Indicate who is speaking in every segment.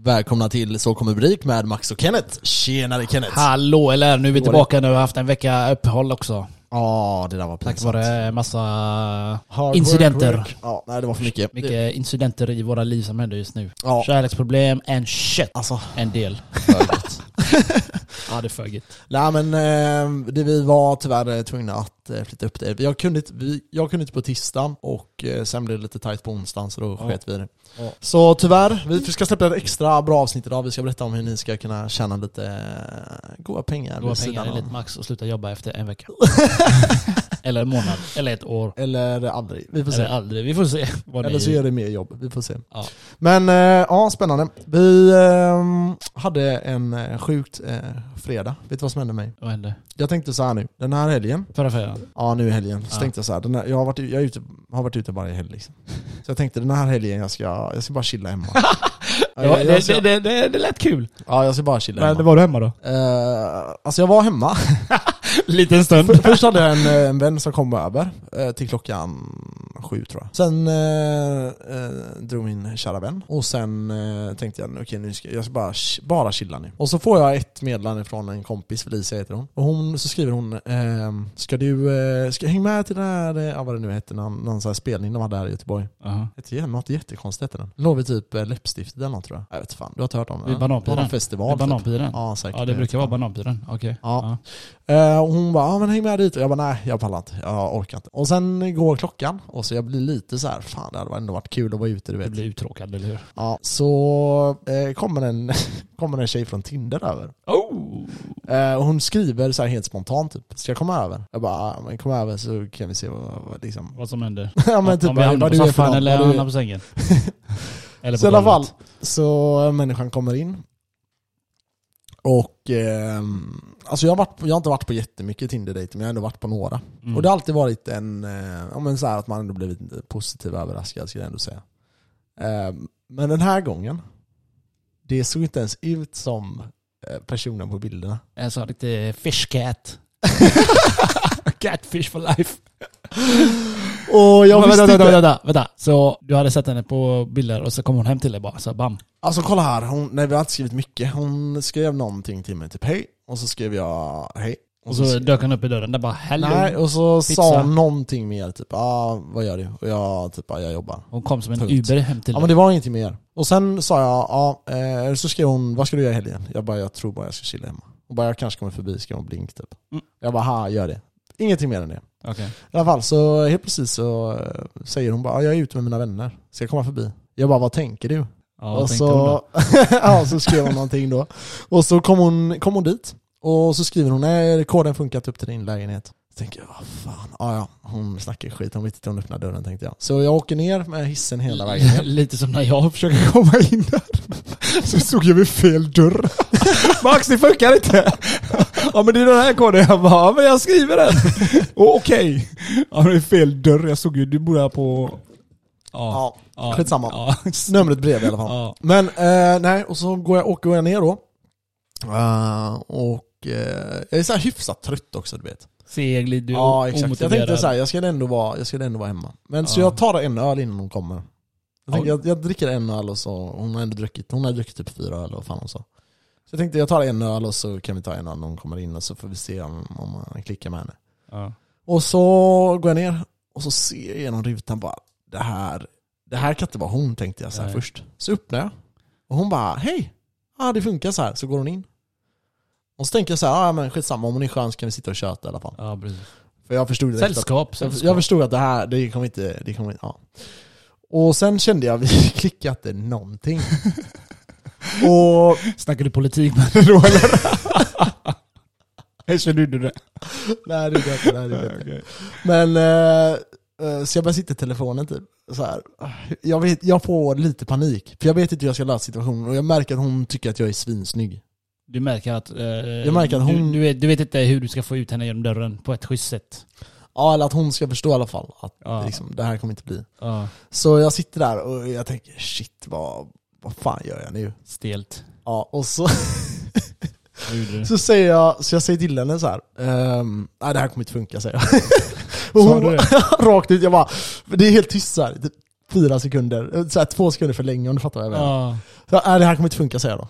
Speaker 1: Välkomna till Så kommer Brik med Max och Kenneth. Tjenare Kenneth!
Speaker 2: Hallå eller nu är vi tillbaka nu, har haft en vecka uppehåll också.
Speaker 1: Ja, det där var
Speaker 2: Tack
Speaker 1: pinsamt.
Speaker 2: vare massa
Speaker 1: Hard
Speaker 2: incidenter.
Speaker 1: work, work. Ja, nej det var för mycket.
Speaker 2: Mycket
Speaker 1: Det-
Speaker 2: incidenter i våra liv som händer just nu.
Speaker 1: Ja.
Speaker 2: Kärleksproblem and shit.
Speaker 1: Alltså,
Speaker 2: En del. ja det är fögigt.
Speaker 1: nej men eh, det, vi var tyvärr eh, tvungna att eh, flytta upp det. Jag kunde, inte, vi, jag kunde inte på tisdagen och eh, sen blev det lite tajt på onsdagen så då
Speaker 2: Ja.
Speaker 1: sket vi i det.
Speaker 2: Ja.
Speaker 1: Så tyvärr, vi ska släppa ett extra bra avsnitt idag. Vi ska berätta om hur ni ska kunna tjäna lite eh, goda pengar
Speaker 2: Våra
Speaker 1: vid
Speaker 2: pengar
Speaker 1: sidan
Speaker 2: är
Speaker 1: av.
Speaker 2: lite max och sluta jobba efter en vecka. eller en månad. Eller ett år.
Speaker 1: Eller aldrig, vi får se.
Speaker 2: Eller aldrig. Vi får se. Vad
Speaker 1: Eller så gör
Speaker 2: ni...
Speaker 1: det mer jobb, vi får se.
Speaker 2: Ja.
Speaker 1: Men eh, ja, spännande. Vi ehm, hade en eh, sjukt eh, fredag. Vet du vad som hände mig?
Speaker 2: Vad hände?
Speaker 1: Jag tänkte så här nu, den här helgen,
Speaker 2: Förra fredagen?
Speaker 1: ja nu i helgen, så
Speaker 2: Ja.
Speaker 1: tänkte jag så här, den här, jag har varit, jag är ute, har varit ute varje helg liksom. Så jag tänkte den här helgen, jag ska, jag ska bara chilla hemma. ja,
Speaker 2: Det, var,
Speaker 1: jag, jag,
Speaker 2: det,
Speaker 1: ska,
Speaker 2: det, det, det lät kul.
Speaker 1: ja, jag ska bara chilla hemma.
Speaker 2: var du hemma då?
Speaker 1: Eh, alltså jag var hemma.
Speaker 2: Liten stund.
Speaker 1: För, först hade jag en, eh, en vän som kom över eh, till klockan sju tror jag. Sen eh, eh, drog min kära vän och sen eh, tänkte jag okej nu ska jag ska bara, ch- bara chilla nu. Och så får jag ett meddelande från en kompis, Felicia heter hon. Och hon, så skriver hon ehm, Ska du, eh, ska jag hänga med till den här, eh, ja, vad det nu hette, någon, någon sån här spelning de hade här i Göteborg.
Speaker 2: Aha.
Speaker 1: Hette igen, något jättekonstigt hette den. Låg vid typ eh, läppstift eller något tror jag. Jag vet fan, du har inte hört om det?
Speaker 2: Vid
Speaker 1: va?
Speaker 2: Bananpiren.
Speaker 1: På någon festival.
Speaker 2: Vid
Speaker 1: typ.
Speaker 2: Bananpiren.
Speaker 1: Ja säkert.
Speaker 2: Ja det brukar vara bananpiren. Okej.
Speaker 1: Ja. Eh, och hon bara, ah, men häng med dit. Och jag bara, nej jag pallar inte. Jag orkar inte. Och sen går klockan och så jag blir lite så här, fan det hade ändå varit kul att vara ute du
Speaker 2: Du
Speaker 1: vet.
Speaker 2: blir uttråkad, eller hur?
Speaker 1: Ja, så eh, kommer, en, kommer en tjej från Tinder över.
Speaker 2: Oh!
Speaker 1: Eh, och hon skriver så här helt spontant typ, ska jag komma över? Jag bara, ah, men kom över så kan vi se vad, vad liksom.
Speaker 2: Vad som händer.
Speaker 1: ja men typ
Speaker 2: Om vi hamnar
Speaker 1: vad
Speaker 2: på
Speaker 1: du är för
Speaker 2: soffan
Speaker 1: någon,
Speaker 2: eller
Speaker 1: vad du
Speaker 2: hamnar
Speaker 1: är.
Speaker 2: på sängen. eller
Speaker 1: Så i alla fall,
Speaker 2: golvet.
Speaker 1: så eh, människan kommer in. Och eh, alltså jag har, varit på, jag har inte varit på jättemycket Tinder-dejter men jag har ändå varit på några.
Speaker 2: Mm.
Speaker 1: Och det har alltid varit en, eh, ja, men så här att man ändå blivit positivt överraskad skulle jag ändå säga. Eh, men den här gången, det såg inte ens ut som eh, personen på bilderna.
Speaker 2: En sån riktig fish cat. Catfish for life.
Speaker 1: Och jag visste
Speaker 2: vänta, vänta,
Speaker 1: inte.
Speaker 2: vänta, vänta. Så du hade sett henne på bilder och så kom hon hem till dig bara, så bam.
Speaker 1: Alltså kolla här, hon, nej vi har inte skrivit mycket. Hon skrev någonting till mig, typ hej. Och så skrev jag hej.
Speaker 2: Och så
Speaker 1: skrev-
Speaker 2: dök han upp i dörren där bara hello.
Speaker 1: Nej, och så sa
Speaker 2: Pizza.
Speaker 1: hon någonting mer, typ ah, vad gör du? Och jag typ ah, jag jobbar.
Speaker 2: Hon kom som en
Speaker 1: Punkt.
Speaker 2: Uber hem till
Speaker 1: Ja
Speaker 2: dig.
Speaker 1: men det var ingenting mer. Och sen sa jag, ja, eh, så skrev hon, vad ska du göra i helgen? Jag bara, jag tror bara jag ska chilla hemma. Och bara, jag kanske kommer förbi, ska hon blink typ.
Speaker 2: Mm.
Speaker 1: Jag bara, ha, gör det. Ingenting mer än det.
Speaker 2: Okej.
Speaker 1: I alla fall så helt precis så eh, säger hon bara, ja, jag är ute med mina vänner, ska jag komma förbi? Jag bara, vad tänker du?
Speaker 2: Ja,
Speaker 1: och
Speaker 2: vad tänkte
Speaker 1: så,
Speaker 2: hon då?
Speaker 1: ja, så skrev hon någonting då. Och så kom hon, kom hon dit. Och så skriver hon, nej koden funkat upp till din lägenhet. Så tänker jag, vad fan, ja ja, hon snackar skit, hon vet inte hur hon öppnar dörren tänkte jag. Så jag åker ner med hissen hela vägen ner.
Speaker 2: Lite som när jag försöker
Speaker 1: försöka komma in där. Så stod jag vid fel dörr.
Speaker 2: Max det funkar inte! Ja men det är den här koden, jag bara, ja, men jag skriver den! Oh, Okej! Ja men det är fel dörr, jag såg ju, du bor här på... Ja,
Speaker 1: Ja, skitsamma.
Speaker 2: Ja.
Speaker 1: Numret bredvid i alla fall.
Speaker 2: Ja.
Speaker 1: Men eh, nej, och så går jag, åker jag ner då. Eh, och eh, jag är så här hyfsat trött också du vet.
Speaker 2: Seg, du
Speaker 1: ja exakt. Jag
Speaker 2: omotiverad.
Speaker 1: tänkte så här, jag ska ändå vara, jag ska ändå vara hemma. Men så
Speaker 2: Ja.
Speaker 1: jag tar en öl innan hon kommer. Jag, tänkte,
Speaker 2: Oj.
Speaker 1: jag, jag dricker en öl och så, hon har ändå druckit, hon har druckit typ fyra öl och fan hon sa. Så jag tänkte jag tar en öl och så kan vi ta en öl när hon kommer in och så får vi se om, om man klickar med henne.
Speaker 2: Ja.
Speaker 1: Och så går jag ner och så ser jag genom rutan bara det här, det här kan inte vara hon tänkte jag så här
Speaker 2: Nej.
Speaker 1: först. Så öppnar jag och hon bara hej, ah, det funkar så här. Så går hon in. Och så tänker jag så här, ah, men skitsamma om hon är skön så kan vi sitta och köta i alla fall.
Speaker 2: ja, precis.
Speaker 1: För jag förstod direkt att,
Speaker 2: Sällskap,
Speaker 1: jag,
Speaker 2: sällskap.
Speaker 1: jag förstod att det här, det kommer inte, det kommer inte, ja. Och sen kände jag, vi klickade inte någonting. och
Speaker 2: Snackar du politik med henne då eller? Känner du det?
Speaker 1: Nej det gjorde jag inte, nej, det gjorde jag inte. Men, eh, eh, så jag bara sitter i telefonen typ. Så här. Jag, vet, jag får lite panik, för jag vet inte hur jag ska lösa situationen och jag märker att hon tycker att jag är svinsnygg.
Speaker 2: Du märker att... Eh, jag
Speaker 1: märker att hon-
Speaker 2: Du, du, vet, du vet inte hur du ska få ut henne genom dörren på ett schysst sätt.
Speaker 1: Ja, eller att hon ska förstå i alla fall att
Speaker 2: Ja.
Speaker 1: liksom, det här kommer inte bli.
Speaker 2: Ja.
Speaker 1: Så jag sitter där och jag tänker shit vad, vad fan gör jag nu?
Speaker 2: Stelt.
Speaker 1: Ja, och så,
Speaker 2: Vad gjorde du?
Speaker 1: så, säger jag, så jag säger till henne så här. ehm, nej det här kommer inte funka säger jag. Och
Speaker 2: Sa
Speaker 1: hon-
Speaker 2: du det?
Speaker 1: rakt ut, jag bara, det är helt tyst såhär. typ fyra sekunder, eh, så här, två sekunder för länge om du fattar vad jag menar.
Speaker 2: Ja.
Speaker 1: Så, "Nej, äh, det här kommer inte funka säger jag då.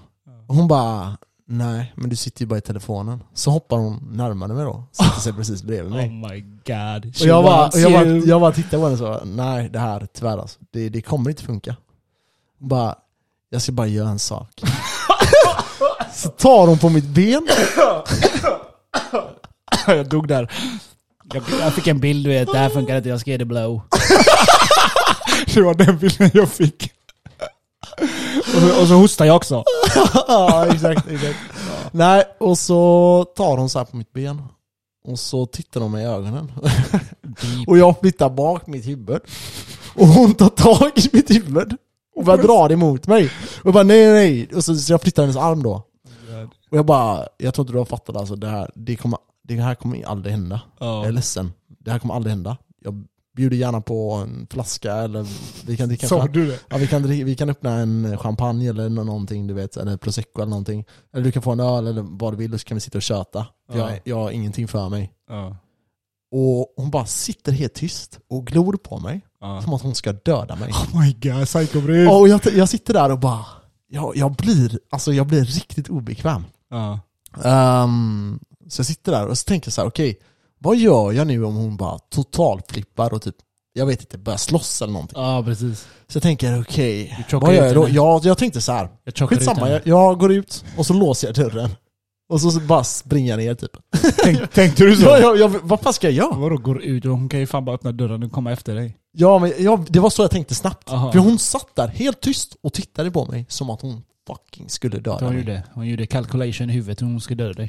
Speaker 1: Och hon bara, nej men du sitter ju bara i telefonen. Så hoppar hon närmare mig då, sätter sig precis bredvid mig.
Speaker 2: Oh my god.
Speaker 1: Och jag bara, och jag bara, jag bara tittade på henne så, nej det här tyvärr alltså, det, det kommer inte funka. Hon bara, jag ska bara göra en sak. så tar hon på mitt ben,
Speaker 2: jag dog där. Jag, jag fick en bild du vet, det här funkar inte, jag ska ge dig blow. det var den bilden jag fick. och, så, och så hostade jag också.
Speaker 1: ja exakt, exakt. Nej, och så tar hon så här på mitt ben. Och så tittar hon mig i ögonen. och jag flyttar bak mitt huvud. Och hon tar tag i mitt huvud. Och börjar dra det emot mig. Och jag bara nej, nej, nej. Och så, så jag flyttar hennes arm då. Och jag bara, jag tror inte du har fattat alltså. Det här, det kommer, det här kommer aldrig hända.
Speaker 2: Ja.
Speaker 1: Jag är ledsen. Det här kommer aldrig hända. Jag bjuder gärna på en flaska eller vi kan dricka
Speaker 2: Sa
Speaker 1: fram-
Speaker 2: du det?
Speaker 1: Ja, vi, kan, dricka- vi kan öppna en champagne eller nå- någonting, du vet, eller prosecco eller någonting. Eller du kan få en öl eller vad du vill och så kan vi sitta och köta. För
Speaker 2: Ja.
Speaker 1: Jag, jag har ingenting för mig.
Speaker 2: Ja.
Speaker 1: Och hon bara sitter helt tyst och glor på mig.
Speaker 2: Ja.
Speaker 1: Som att hon ska döda mig.
Speaker 2: Oh my god, psykobrud.
Speaker 1: Ja, Och jag, jag sitter där och bara, jag, jag, blir, alltså jag blir riktigt obekväm.
Speaker 2: Ja.
Speaker 1: Ehm, så jag sitter där och så tänker jag så här, okej, vad gör jag nu om hon bara totalflippar och typ, jag vet inte, börjar slåss eller någonting?
Speaker 2: ja, precis.
Speaker 1: Så jag tänker, okej,
Speaker 2: Du chockar
Speaker 1: vad gör
Speaker 2: ut
Speaker 1: jag då?
Speaker 2: henne.
Speaker 1: Jag, jag tänkte så här,
Speaker 2: Jag chockar ut
Speaker 1: Skitsamma,
Speaker 2: henne.
Speaker 1: jag, jag går ut och så låser jag dörren. Och så bara springer jag ner typ.
Speaker 2: Tänk, tänkte du så?
Speaker 1: Ja, jag, jag, vad fan ska jag göra?
Speaker 2: Vadå går ut? Hon kan ju fan bara öppna dörren och komma efter dig.
Speaker 1: Ja, men jag, det var så jag tänkte snabbt.
Speaker 2: Aha.
Speaker 1: För hon satt där helt tyst och tittade på mig som att hon fucking skulle döda
Speaker 2: Hon
Speaker 1: mig.
Speaker 2: gjorde, hon gjorde calculation i huvudet hur hon skulle döda dig.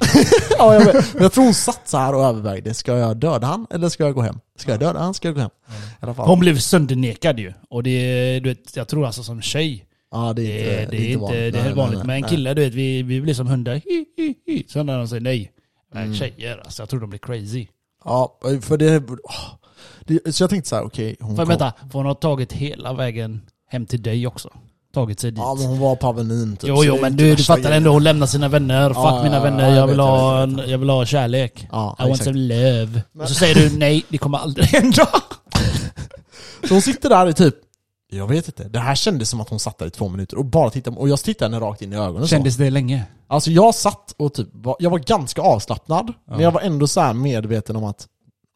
Speaker 1: Ja, jag, vet. Men jag tror hon satt så här och övervägde, ska jag döda han eller ska jag gå hem? Ska jag döda han? Ska jag gå hem? I alla fall.
Speaker 2: Hon blev söndernekad ju. Och det, du vet, jag tror alltså som tjej,
Speaker 1: Ja, det är
Speaker 2: det,
Speaker 1: inte,
Speaker 2: det, är inte vanligt. Det
Speaker 1: Nej,
Speaker 2: är helt vanligt.
Speaker 1: nej,
Speaker 2: Men en
Speaker 1: nej.
Speaker 2: kille, du vet, vi, vi blir som hundar. Hi, hi, hi. Sen när de säger nej. Men
Speaker 1: Mm.
Speaker 2: tjejer, alltså jag tror de blir crazy.
Speaker 1: Ja, för det... åh. det så jag tänkte så här, okej, hon
Speaker 2: För
Speaker 1: kom.
Speaker 2: vänta, för hon har tagit hela vägen hem till dig också. Tagit sig dit.
Speaker 1: Ja, men hon var på Avenyn typ.
Speaker 2: jo,
Speaker 1: så
Speaker 2: jo,
Speaker 1: det är
Speaker 2: men
Speaker 1: inte
Speaker 2: du, du
Speaker 1: värsta
Speaker 2: fattar
Speaker 1: grejen.
Speaker 2: ändå. Hon lämnar sina vänner. Fuck
Speaker 1: Ja,
Speaker 2: mina
Speaker 1: ja,
Speaker 2: vänner.
Speaker 1: ja, jag
Speaker 2: jag, vill
Speaker 1: vet, jag
Speaker 2: ha
Speaker 1: vet,
Speaker 2: en, jag vill ha kärlek.
Speaker 1: Ja,
Speaker 2: I want
Speaker 1: exakt.
Speaker 2: some love. Och så säger du nej, det kommer aldrig hända.
Speaker 1: Så hon sitter där i typ, jag vet inte, det här kändes som att hon satt där i två minuter och bara tittade, och jag tittade henne rakt in i ögonen så.
Speaker 2: Kändes det länge?
Speaker 1: Alltså jag satt och typ, var, jag var ganska avslappnad, men jag var ändå så här medveten om att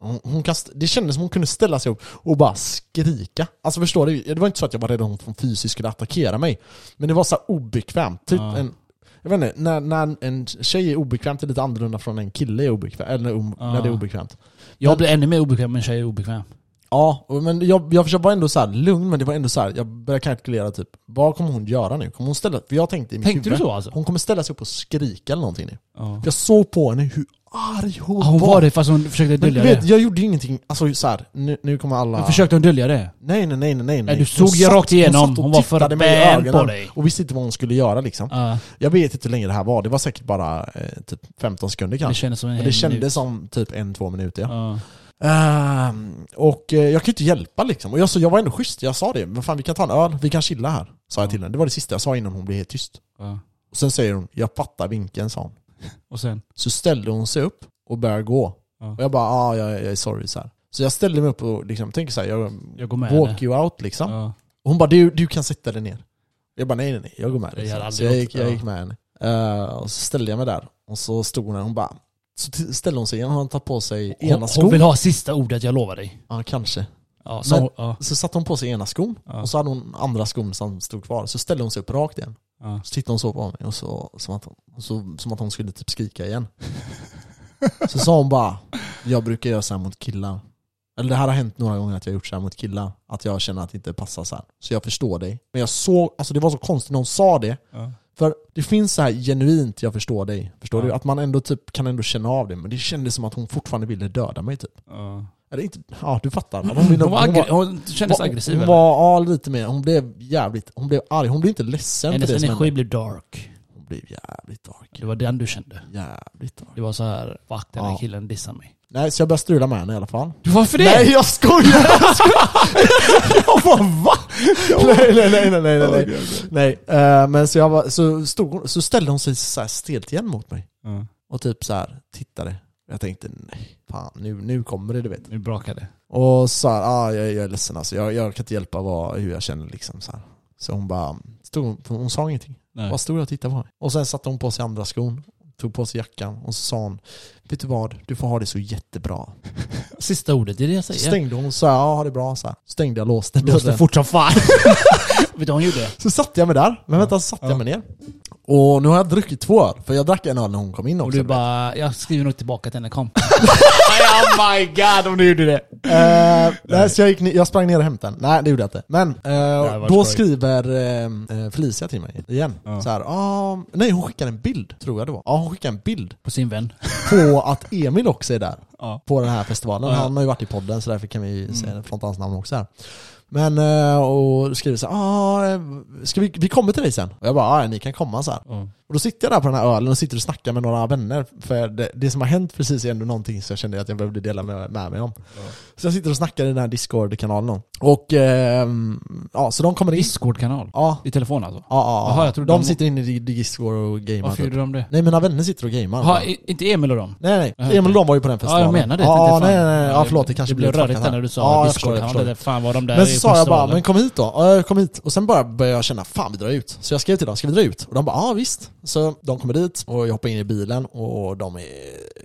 Speaker 1: hon, hon kan, st- det kändes som hon kunde ställa sig upp och bara skrika. Alltså förstår du? Det var inte så att jag var rädd att hon från fysiskt skulle attackera mig. Men det var så här obekvämt. Typ
Speaker 2: Ja.
Speaker 1: en, jag vet inte, när, när en tjej är obekväm det är lite annorlunda från en kille är obekväm. Eller om-
Speaker 2: Ja.
Speaker 1: när det är obekvämt.
Speaker 2: Jag blir ännu mer obekväm än tjejer är obekväm.
Speaker 1: Ja, och- men jag, jag försökte vara ändå så här lugn, men det var ändå så här, jag började kalkylera typ, vad kommer hon göra nu? Kommer hon ställa För jag tänkte i mitt
Speaker 2: Tänkte du
Speaker 1: huvud,
Speaker 2: så alltså?
Speaker 1: hon kommer ställa sig upp och skrika eller någonting nu.
Speaker 2: Ja.
Speaker 1: För Jag såg på henne hur arg hon,
Speaker 2: Hon var det fast hon försökte
Speaker 1: Men
Speaker 2: dölja
Speaker 1: du
Speaker 2: det.
Speaker 1: vet, jag gjorde ju ingenting, alltså så här, nu, nu kommer alla...
Speaker 2: Men Försökte hon dölja det?
Speaker 1: Nej nej nej nej nej.
Speaker 2: Nej, du
Speaker 1: Hon
Speaker 2: såg ju
Speaker 1: satt-
Speaker 2: rakt igenom.
Speaker 1: satt och
Speaker 2: Hon var för
Speaker 1: tittade mig i
Speaker 2: bän
Speaker 1: ögonen
Speaker 2: på dig.
Speaker 1: Och visste inte vad hon skulle göra liksom.
Speaker 2: Ja.
Speaker 1: Jag vet inte hur länge det här var, det var säkert bara eh, typ 15 sekunder
Speaker 2: Det
Speaker 1: kanske.
Speaker 2: kändes som en
Speaker 1: Men det kändes som typ en, två minuter ja.
Speaker 2: Ja.
Speaker 1: Ehm, och eh, jag kan ju inte hjälpa liksom. Och jag, så, jag var ändå schysst, jag sa det. Men fan vi kan ta en öl, vi kan chilla här. Sa jag till henne. Det var det sista jag sa innan hon blev helt tyst.
Speaker 2: Ja.
Speaker 1: Och sen säger hon, jag fattar vinkeln sa hon.
Speaker 2: Och sen?
Speaker 1: Så ställde hon sig upp och började gå.
Speaker 2: Ja.
Speaker 1: Och jag bara, ah, jag, jag är sorry så här. Så jag ställde mig upp och liksom, tänker så här, jag,
Speaker 2: Jag går med
Speaker 1: walk
Speaker 2: henne.
Speaker 1: you out liksom.
Speaker 2: Ja.
Speaker 1: Och hon bara, du, du kan sätta dig ner. Jag bara, nej nej nej, jag går med
Speaker 2: Det gör
Speaker 1: dig. Så
Speaker 2: aldrig
Speaker 1: jag
Speaker 2: något,
Speaker 1: gick, jag
Speaker 2: ja.
Speaker 1: gick med henne. Eh, och så ställde jag mig där. Och så stod hon där, hon bara, så t- ställde hon sig igen, hon tar på sig ena
Speaker 2: Hon, hon
Speaker 1: skon.
Speaker 2: vill ha sista ordet, jag lovar dig.
Speaker 1: Ja, kanske.
Speaker 2: Ja,
Speaker 1: Men-
Speaker 2: så, ja.
Speaker 1: Så satte hon på sig ena skon
Speaker 2: Ja.
Speaker 1: och så hade hon andra skon som stod kvar. Så ställde hon sig upp rakt igen.
Speaker 2: Ja.
Speaker 1: Så tittade hon så på mig och så, som, att, hon- så, som att hon skulle typ skrika igen. Så sa hon bara, jag brukar göra så här mot killar. Eller det här har hänt några gånger att jag har gjort så här mot killar. Att jag känner att det inte passar så här. Så jag förstår dig. Men jag såg, alltså det var så konstigt när hon sa det.
Speaker 2: Ja.
Speaker 1: För det finns så här genuint, jag förstår dig. Förstår
Speaker 2: Ja.
Speaker 1: du? Att man ändå typ kan ändå känna av det. Men det kändes som att hon fortfarande ville döda mig typ.
Speaker 2: Ja.
Speaker 1: Eller inte, ja du fattar. Hon, ville-
Speaker 2: Hon, var
Speaker 1: hon var-
Speaker 2: aggre- hon kändes
Speaker 1: var-
Speaker 2: aggressiv.
Speaker 1: Hon
Speaker 2: eller?
Speaker 1: var, ja, lite mer. Hon blev jävligt, hon blev arg. Hon blev inte ledsen för det
Speaker 2: Hennes
Speaker 1: som hände.
Speaker 2: energi blev dark.
Speaker 1: Hon blev jävligt dark.
Speaker 2: Det var den du kände.
Speaker 1: Jävligt dark.
Speaker 2: Det var så här, fuck den här
Speaker 1: Ja.
Speaker 2: killen dissar mig.
Speaker 1: Nej, så jag började strula med henne i alla fall.
Speaker 2: Varför det?
Speaker 1: Nej, jag skojar! Jag skojar. Jag bara va? Nej, nej, nej, nej, nej, nej. nej. nej. eh, men så, jag var, så, stod, hon- så ställde hon sig så här stelt igen mot mig.
Speaker 2: Ja.
Speaker 1: Och typ så här tittade. Jag tänkte nej, fan nu, nu kommer det du vet.
Speaker 3: Nu brakar det.
Speaker 1: Och så här, ah, jag, jag är ledsen alltså, jag, jag kan inte hjälpa vad, hur jag känner liksom. Så, här. så hon bara, stod, för hon sa ingenting.
Speaker 3: Nej.
Speaker 1: Bara stod och tittade på mig. Och sen satte hon på sig andra skon, tog på sig jackan och så sa hon, vet du vad, du får ha det så jättebra.
Speaker 2: Sista ordet, det är det jag säger.
Speaker 1: Så stängde hon så här, ja ha det bra så här. Så Stängde jag låste
Speaker 2: Blåste
Speaker 1: dörren.
Speaker 2: fort som fan. Vet du vad hon gjorde?
Speaker 1: Så satte jag mig där, men vänta så satte jag mig ner. Och nu har jag druckit två öl, för jag drack en öl när hon kom in också.
Speaker 2: Och du bara, jag skriver nog tillbaka till henne, kom.
Speaker 3: oh my god om du gjorde det.
Speaker 1: Eh, nej, så jag, gick, ni- jag sprang ner och hämtade den. Nej, det gjorde jag inte. Men eh,
Speaker 3: var
Speaker 1: då
Speaker 3: skoj.
Speaker 1: skriver eh, eh, Felicia till mig igen.
Speaker 3: Ja.
Speaker 1: Så här, ah, nej, hon skickar en bild, tror jag det var. Ja, hon skickar en bild
Speaker 2: På sin vän.
Speaker 1: på att Emil också är där.
Speaker 3: Ja.
Speaker 1: På den här festivalen.
Speaker 3: Ja. Mm.
Speaker 1: Han har ju varit i podden, så därför kan vi säga fronta hans namn också här. Men, eh, och skriver så här, ah, eh, ska vi, vi kommer till dig sen. Och jag bara, ah, ni kan komma så här.
Speaker 3: Ja.
Speaker 1: Och då sitter jag där på den här ölen och sitter och snackar med några vänner För det, det som har hänt precis är ändå någonting som jag kände att jag behövde dela med, med mig om Så jag sitter och snackar i den här discord-kanalen Och ehm, ja, så de kommer in
Speaker 2: Discord-kanal.
Speaker 1: Ja, ja,
Speaker 2: I telefon alltså?
Speaker 1: ja,
Speaker 2: Jaha,
Speaker 1: ja.
Speaker 2: jag trodde
Speaker 1: De
Speaker 2: de-
Speaker 1: sitter inne i discord och gamer
Speaker 2: Varför
Speaker 1: typ.
Speaker 2: gjorde de det?
Speaker 1: Nej mina vänner sitter och gamer
Speaker 2: Ha, i- inte Emil och dem?
Speaker 1: Nej nej,
Speaker 2: Jaha,
Speaker 1: Emil och
Speaker 2: okej.
Speaker 1: de var ju på den
Speaker 2: Ja,
Speaker 1: festivalen
Speaker 2: jag menar det.
Speaker 1: Ja,
Speaker 2: Tänkte
Speaker 1: nej
Speaker 2: fan.
Speaker 1: nej, nej, ja förlörigt det kanske
Speaker 2: det blev
Speaker 1: lite
Speaker 2: rörigt
Speaker 1: fuckat
Speaker 2: där
Speaker 1: här.
Speaker 2: när du sa
Speaker 1: Ja, jag förstår,
Speaker 2: Discord.
Speaker 1: jag
Speaker 2: Han
Speaker 1: förstår.
Speaker 2: hade, fan var de där
Speaker 1: Men
Speaker 2: i
Speaker 1: så sa jag bara,
Speaker 2: festivalen?
Speaker 1: men kom hit då. Ja, jag kom hit. Och sen bara började jag känna, fan vi drar ut. Så jag skrev till dem, ska vi dra ut? Och de bara, ja visst. Så de kommer dit och jag hoppar in i bilen och de är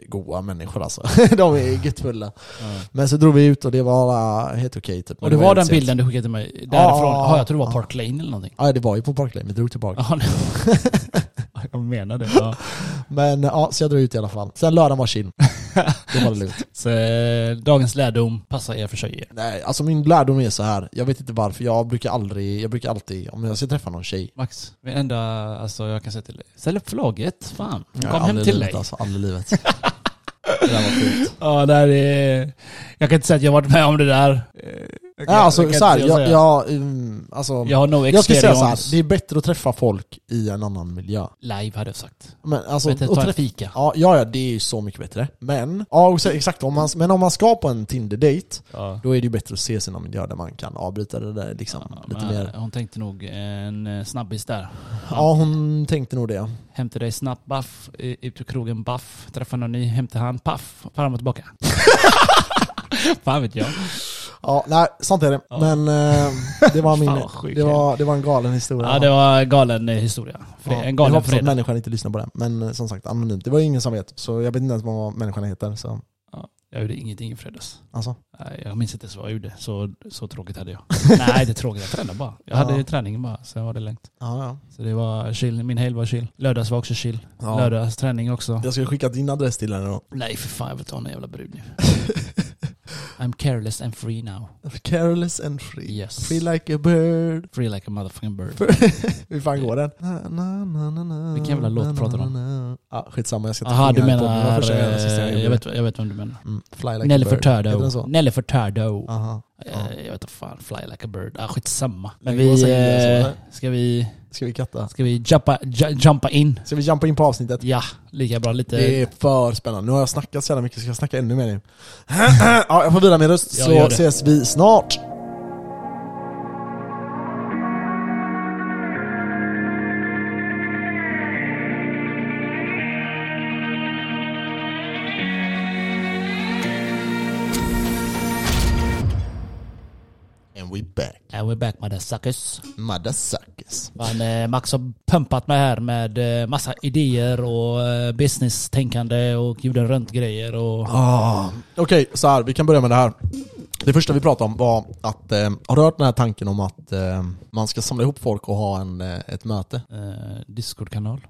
Speaker 1: goa människor alltså. de är guttfulla. Men så drog vi ut och det var äh, helt okej typ. Men
Speaker 2: Och det var den
Speaker 1: helt sent.
Speaker 2: bilden du skickade till mig därifrån?
Speaker 1: Ja.
Speaker 2: Ja, jag tror det var Park Lane eller någonting.
Speaker 1: Ja det var ju på Park Lane, vi drog tillbaka.
Speaker 2: Ja, nej. jag menar det. Ja.
Speaker 1: Men ja, så jag drog ut i alla fall. Sen lördagen var chill. det var det lugnt.
Speaker 2: Så, eh, dagens lärdom, passa er för tjejer.
Speaker 1: Nej, alltså min lärdom är så här. jag vet inte varför, jag brukar aldrig, jag brukar alltid, om jag ska träffa någon tjej,
Speaker 2: Max, det enda alltså, jag kan säga till dig. Sälj upp förlaget, fan.
Speaker 1: Nej,
Speaker 2: Kom hem
Speaker 1: aldrig
Speaker 2: till
Speaker 1: livet,
Speaker 2: dig.
Speaker 1: Alltså, aldrig i livet. det där var fint.
Speaker 2: Ja, där är... Jag kan inte säga att jag varit med om det där.
Speaker 3: Jag kan-
Speaker 1: Ja, alltså,
Speaker 2: kan
Speaker 1: så här,
Speaker 2: inte
Speaker 1: Eh, jag,
Speaker 2: säga.
Speaker 1: jag, mm, alltså,
Speaker 2: Jag har no experience.
Speaker 1: jag skulle säga så här, det är bättre att träffa folk i en annan miljö.
Speaker 2: Live hade jag sagt.
Speaker 1: Men, alltså,
Speaker 2: Bättre att
Speaker 1: och
Speaker 2: ta en
Speaker 1: träffa,
Speaker 2: fika.
Speaker 1: ja, ja, ja, det är ju så mycket bättre. Men, ja, och så, exakt, om man, men om man ska på en Tinder-date,
Speaker 2: Ja.
Speaker 1: då är det ju bättre att ses i någon miljö där man kan avbryta det där liksom, lite
Speaker 2: men, eh,
Speaker 1: mer.
Speaker 2: Hon tänkte nog en eh, snabbis där.
Speaker 1: Ja, hon tänkte nog det.
Speaker 2: Hem till dig snabbt, baff. I- Ut ur krogen, baff. Träffa någon ny, hem till han, paff. Fram och tillbaka. fan vet jag.
Speaker 1: Ja, nej, sånt är det.
Speaker 2: Ja.
Speaker 1: Men eh, det var
Speaker 2: Fan,
Speaker 1: min,
Speaker 2: vad sjuk
Speaker 1: det var, det var en galen historia.
Speaker 2: Ja, det var en galen eh, historia.
Speaker 1: Ja,
Speaker 2: Fre- en
Speaker 1: jag
Speaker 2: galen
Speaker 1: hoppas att
Speaker 2: fredag.
Speaker 1: människan inte lyssnar på det, men eh, som sagt, anonymt. Det var ju ingen som vet, så jag vet inte ens vad människan heter. Så,
Speaker 2: Ja, jag gjorde ingenting i fredags.
Speaker 1: alltså.
Speaker 2: Nej, Jag minns inte ens vad jag gjorde. Så, så tråkigt hade jag. Nej, det är tråkigt. Jag tränade bara. Jag hade
Speaker 1: Ja.
Speaker 2: ju träningen bara, sen var det lugnt.
Speaker 1: ja, ja.
Speaker 2: Så det var chill. Min helg var chill. Lördags var också chill.
Speaker 1: Ja.
Speaker 2: Lördags träning också.
Speaker 1: Jag ska skicka din adress till henne då.
Speaker 2: Nej för fan, jag vill ta en jävla brud nu. I'm careless and free now.
Speaker 1: Careless and free.
Speaker 2: Yes.
Speaker 1: Free like a bird.
Speaker 2: Free like a motherfucking bird.
Speaker 1: Hur fan går den? Na, na, na, na, na,
Speaker 2: Vilken jävla låt
Speaker 1: na, na,
Speaker 2: pratar du
Speaker 1: na,
Speaker 2: om?
Speaker 1: na. Ja, skitsamma, jag ska inte
Speaker 2: Jaha, du
Speaker 1: sjunga den på podden. Det var första
Speaker 2: menar...
Speaker 1: gången och sista gången
Speaker 2: eh, Jag vet, jag vet vem du menar.
Speaker 1: Mm, Fly like
Speaker 2: Nelly
Speaker 1: a bird. Heter den
Speaker 2: Furtado.
Speaker 1: så?
Speaker 2: Nelly Furtado.
Speaker 1: Aha.
Speaker 2: Eh, Jag vet inte fan, fly like a bird. Ah, skitsamma. Men
Speaker 1: Lägg på
Speaker 2: vi...
Speaker 1: sig det,
Speaker 2: eh,
Speaker 1: så, nej.
Speaker 2: Ska vi...
Speaker 1: Ska vi katta?
Speaker 2: Ska vi jumpa, ju- jumpa in?
Speaker 1: Ska vi jumpa in på avsnittet?
Speaker 2: Ja, lika bra. Lite...
Speaker 1: Det är för spännande. Nu har jag snackat så jävla mycket, ska jag snacka ännu mer nu? ja, jag får vila min röst,
Speaker 2: Jag
Speaker 1: så
Speaker 2: gör det.
Speaker 1: ses vi snart! And we back,
Speaker 2: And we're back motherfuckers.
Speaker 1: motherfuckers.
Speaker 2: Fan, eh, Max har pumpat mig här med eh, massa idéer och eh, business-tänkande och jorden runt-grejer och...
Speaker 1: Ah. Okej, så här, vi kan börja med det här. Det första vi pratade om var att, eh, har du hört den här tanken om att eh, man ska samla ihop folk och ha en, eh, ett möte?
Speaker 2: Eh, Discord-kanal.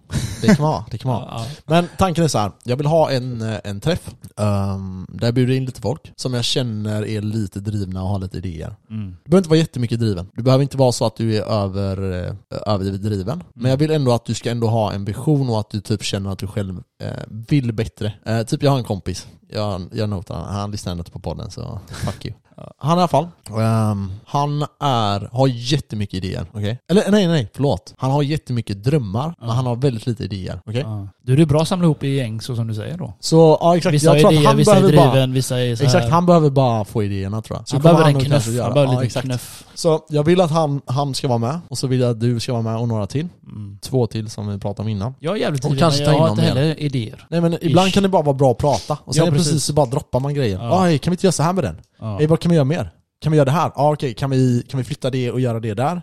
Speaker 1: Det kan man ha, det kan man ha.
Speaker 2: Ja,
Speaker 1: Men tanken är så här, jag vill ha en, eh, en träff ehm, där jag bjuder in lite folk som jag känner är lite drivna och har lite idéer.
Speaker 2: Mm.
Speaker 1: Du behöver inte vara jättemycket driven. Du behöver inte vara så att du är över, eh, överdriven.
Speaker 2: Mm.
Speaker 1: Men jag vill ändå att du ska ändå ha en vision och att du typ känner att du själv eh, vill bättre. Eh, typ jag har en kompis, jag, jag notar han, han lyssnar ändå inte på podden så fuck you. Han i alla fall, ehm, han är, har jättemycket idéer. Okej? Eller nej, nej, förlåt. Han har jättemycket drömmar, men han har väldigt lite idéer. Okej?
Speaker 2: Ja. Då är det bra att samla ihop i gäng så som du säger då.
Speaker 1: Så ja, exakt.
Speaker 4: Vissa
Speaker 1: jag tror
Speaker 4: har
Speaker 1: att
Speaker 4: idéer,
Speaker 1: han
Speaker 4: vissa är
Speaker 1: behöver bara...
Speaker 4: driven, vissa är så här.
Speaker 1: Exakt, han behöver bara få idéerna tror jag. Så
Speaker 4: han
Speaker 1: kommer
Speaker 4: behöver en
Speaker 1: nog kanske
Speaker 4: knuff.
Speaker 1: göra-
Speaker 4: Han behöver
Speaker 1: ja,
Speaker 4: lite
Speaker 1: exakt.
Speaker 4: knuff.
Speaker 1: Så jag vill att han, han ska vara med, och så vill jag att du ska vara med och några till.
Speaker 2: Mm.
Speaker 1: Två till som vi pratade om innan.
Speaker 4: Jag är jävligt
Speaker 1: Och
Speaker 4: driven, men
Speaker 1: kanske ta
Speaker 4: jag
Speaker 1: in
Speaker 4: har
Speaker 1: någon
Speaker 4: inte heller idéer.
Speaker 1: Nej men ibland
Speaker 4: Ish.
Speaker 1: kan det bara vara bra att prata, och sen
Speaker 4: Ja,
Speaker 1: är det precis.
Speaker 4: precis.
Speaker 1: så bara droppar man grejer.
Speaker 4: Ja.
Speaker 1: Aj, kan vi inte göra så här med den?
Speaker 2: Ja.
Speaker 1: Ey, vad kan vi göra mer? Kan vi göra det här? Ja okej, kan, vi, kan vi flytta det och göra det där?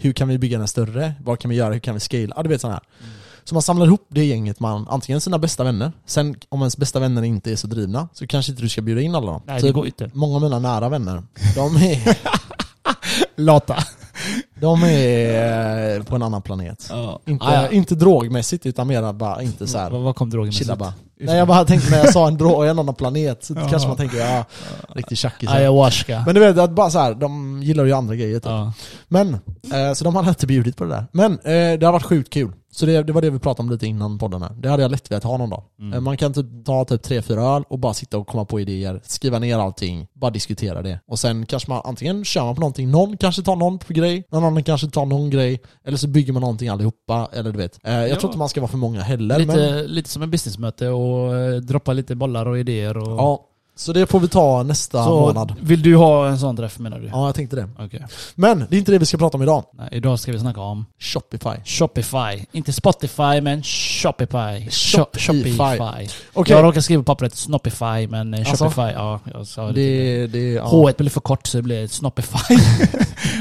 Speaker 1: Hur kan vi bygga den större? Vad kan vi göra? Hur kan vi scale? Ja du vet sådana här.
Speaker 2: Mm.
Speaker 1: Så man samlar ihop det gänget man, antingen sina bästa vänner, sen om ens bästa vänner inte är så drivna så kanske inte du ska bjuda in alla dem.
Speaker 2: Nej,
Speaker 1: Typ,
Speaker 2: det går inte.
Speaker 1: Många av mina nära vänner, de är,
Speaker 3: Lata.
Speaker 1: de är eh, på en annan planet.
Speaker 2: Ja.
Speaker 1: Inte,
Speaker 2: Ah, ja. Mm,
Speaker 1: inte drogmässigt utan mera bara inte så
Speaker 2: Vad
Speaker 1: här.
Speaker 2: vad kom drogen
Speaker 1: Chilla bara. Nej jag bara tänkte när jag sa en drog, en annan planet, så kanske man tänker ja, riktig tjackis.
Speaker 2: Ah,
Speaker 1: här.
Speaker 4: Ayahuasca.
Speaker 1: Men du vet, att bara så här, de gillar ju andra grejer typ.
Speaker 2: Ja.
Speaker 1: Men, eh, så de hade inte bjudit på det där. Men eh, det har varit sjukt kul. Så det, det var det vi pratade om lite innan podden här. Det hade jag lätt velat ha någon dag.
Speaker 2: Mm.
Speaker 1: Eh, man kan typ ta typ tre, fyra öl och bara sitta och komma på idéer, skriva ner allting, bara diskutera det. Och sen kanske man antingen kör man på någonting, någon kanske tar någon på grej, någon annan kanske tar någon grej, eller så bygger man någonting allihopa, eller du vet. Eh, jag
Speaker 2: Ja.
Speaker 1: tror inte man ska vara för många heller. Men,
Speaker 2: Lite, lite som en businessmöte och eh, droppa lite bollar och idéer. Och...
Speaker 1: ja, så det får vi ta nästa
Speaker 2: så
Speaker 1: månad.
Speaker 2: vill du ha en sån träff menar du?
Speaker 1: Ja, jag tänkte det.
Speaker 2: Okej.
Speaker 1: Men det är inte det vi ska prata om idag.
Speaker 2: Nej, idag ska vi snacka om
Speaker 1: Shopify.
Speaker 2: Shopify. Inte Spotify, men Shopify. Shop-
Speaker 1: Shopify.
Speaker 2: Shopify.
Speaker 1: Okej.
Speaker 2: Jag råkar skriva på pappret Snoppify, men eh,
Speaker 1: Alltså?
Speaker 2: Shopify, ja. Jag sa det.
Speaker 1: Det, det, ja.
Speaker 2: H1 blev för kort så det blev Snoppify.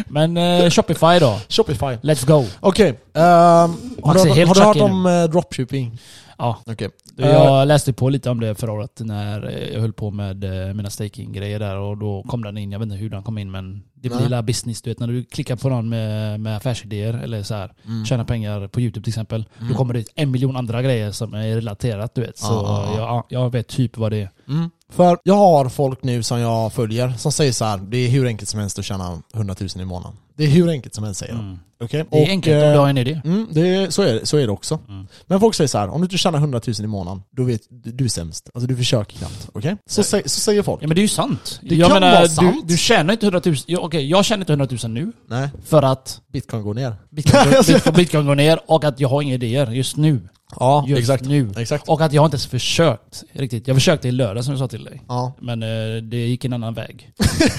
Speaker 2: men eh, Shopify då.
Speaker 1: Shopify.
Speaker 2: Let's go.
Speaker 1: Okej, ehm, har,
Speaker 2: Max är
Speaker 1: du,
Speaker 2: helt
Speaker 1: har du
Speaker 2: chuck
Speaker 1: hört
Speaker 2: i
Speaker 1: om eh, dropshipping?
Speaker 2: Ja,
Speaker 1: Okej.
Speaker 2: Du,
Speaker 1: Eh,
Speaker 2: Jag läste på lite om det förra året när eh, jag höll på med eh, mina staking-grejer där och då kom den in. Jag vet inte hur den kom in men det blir
Speaker 1: Nej.
Speaker 2: lilla business. Du vet när du klickar på någon med, med affärsidéer eller så här,
Speaker 1: Mm.
Speaker 2: tjäna pengar på YouTube till exempel.
Speaker 1: Mm. Ah,
Speaker 2: Då kommer det ut en miljon andra grejer som är relaterat du vet. Så
Speaker 1: Ja, ja, ja.
Speaker 2: Jag, jag vet typ vad det är.
Speaker 1: Mm. För jag har folk nu som jag följer som säger så här: det är hur enkelt som helst att tjäna 100 000 i månaden. Det är hur enkelt som helst säger de.
Speaker 2: Mm.
Speaker 1: Okej?
Speaker 2: Det är
Speaker 1: Och,
Speaker 2: enkelt
Speaker 1: eh,
Speaker 2: om du har en idé.
Speaker 1: Mm, det är, så, är, det- så är det också.
Speaker 2: Mm.
Speaker 1: Men folk säger så här: om du inte tjänar 100 000 i månaden, då vet du, du är sämst. Alltså du försöker knappt. Okej? Så, sä, så säger folk.
Speaker 2: Ja men det är ju sant.
Speaker 1: Det
Speaker 2: jag
Speaker 1: kan
Speaker 2: menar,
Speaker 1: vara
Speaker 2: du,
Speaker 1: sant.
Speaker 2: du tjänar inte 100 000. Ja, Okej, jag tjänar inte 100 000 nu
Speaker 1: Nej,
Speaker 2: för att
Speaker 1: bitcoin går ner.
Speaker 2: bitcoin, går- bitcoin går ner och att jag har inga idéer just nu.
Speaker 1: Ja,
Speaker 2: Just
Speaker 1: exakt.
Speaker 2: nu.
Speaker 1: Exakt.
Speaker 2: Och att jag har inte ens försökt riktigt. Jag försökte i lördag som jag sa till dig.
Speaker 1: Ja,
Speaker 2: Men eh, det gick en annan väg.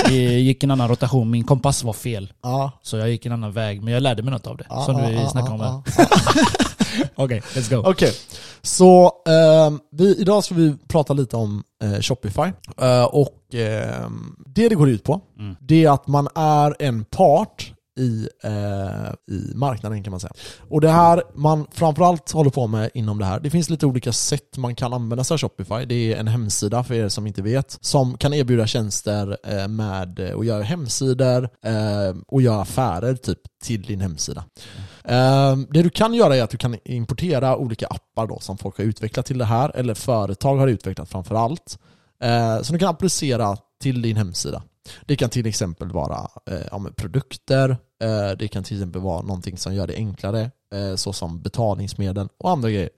Speaker 2: Det gick en annan rotation. Min kompass var fel.
Speaker 1: ja.
Speaker 2: Så jag gick en annan väg. Men jag lärde mig något av det.
Speaker 1: ja,
Speaker 2: som
Speaker 1: ja,
Speaker 2: du
Speaker 1: ja,
Speaker 2: snackade
Speaker 1: ja,
Speaker 2: om
Speaker 1: ja.
Speaker 2: här. Okej, let's go.
Speaker 1: Okej, så ehm, vi, idag ska vi prata lite om eh, Shopify. Eh, och ehm, det det går ut på,
Speaker 2: Mm.
Speaker 1: det är att man är en part i, eh, i marknaden kan man säga. Och det här man framförallt håller på med inom det här, det finns lite olika sätt man kan använda sig av Shopify. Det är en hemsida för er som inte vet, som kan erbjuda tjänster eh, med eh, att göra hemsidor eh, och göra affärer typ till din hemsida. Ehm, Det du kan göra är att du kan importera olika appar då, som folk har utvecklat till det här, eller företag har utvecklat framför allt. eh, Som du kan applicera till din hemsida. Det kan till exempel vara eh, ja, men produkter, eh, det kan till exempel vara någonting som gör det enklare, eh, såsom betalningsmedel och andra grejer.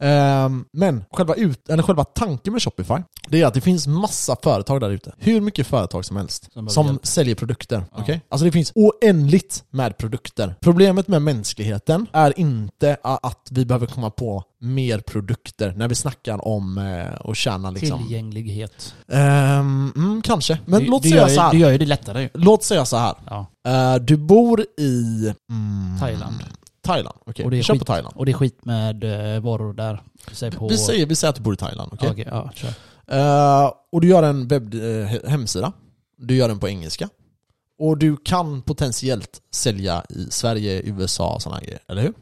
Speaker 1: Ehm, Men själva, ut, eller själva tanken med Shopify, det är att det finns massa företag där ute. Hur mycket företag som helst
Speaker 2: Som behöver
Speaker 1: som
Speaker 2: hjälp.
Speaker 1: säljer produkter. okej? Alltså det finns oändligt med produkter. Problemet med mänskligheten är inte a- att vi behöver komma på mer produkter när vi snackar om eh, att tjäna liksom...
Speaker 2: Tillgänglighet.
Speaker 1: Ehm, mm, kanske. Men
Speaker 2: det,
Speaker 1: låt
Speaker 2: det, gör,
Speaker 1: säga
Speaker 2: ju-
Speaker 1: så
Speaker 2: det
Speaker 1: här.
Speaker 2: gör ju det lättare ju.
Speaker 1: Låt säga så här.
Speaker 2: Ja,
Speaker 1: Eh, du bor i... Mm,
Speaker 2: Thailand.
Speaker 1: Thailand, okej.
Speaker 2: Och det är
Speaker 1: Vi kör på
Speaker 2: skit.
Speaker 1: Thailand.
Speaker 2: Och det är skit med eh, varor där. Säg på...
Speaker 1: Vi säger, vi säger att du bor i Thailand, okej?
Speaker 2: Ja, okej, ja, kör.
Speaker 1: Eh, och du gör en webb, eh, hemsida. Du gör den på engelska. Och du kan potentiellt sälja i Sverige, USA och sådana grejer, eller hur?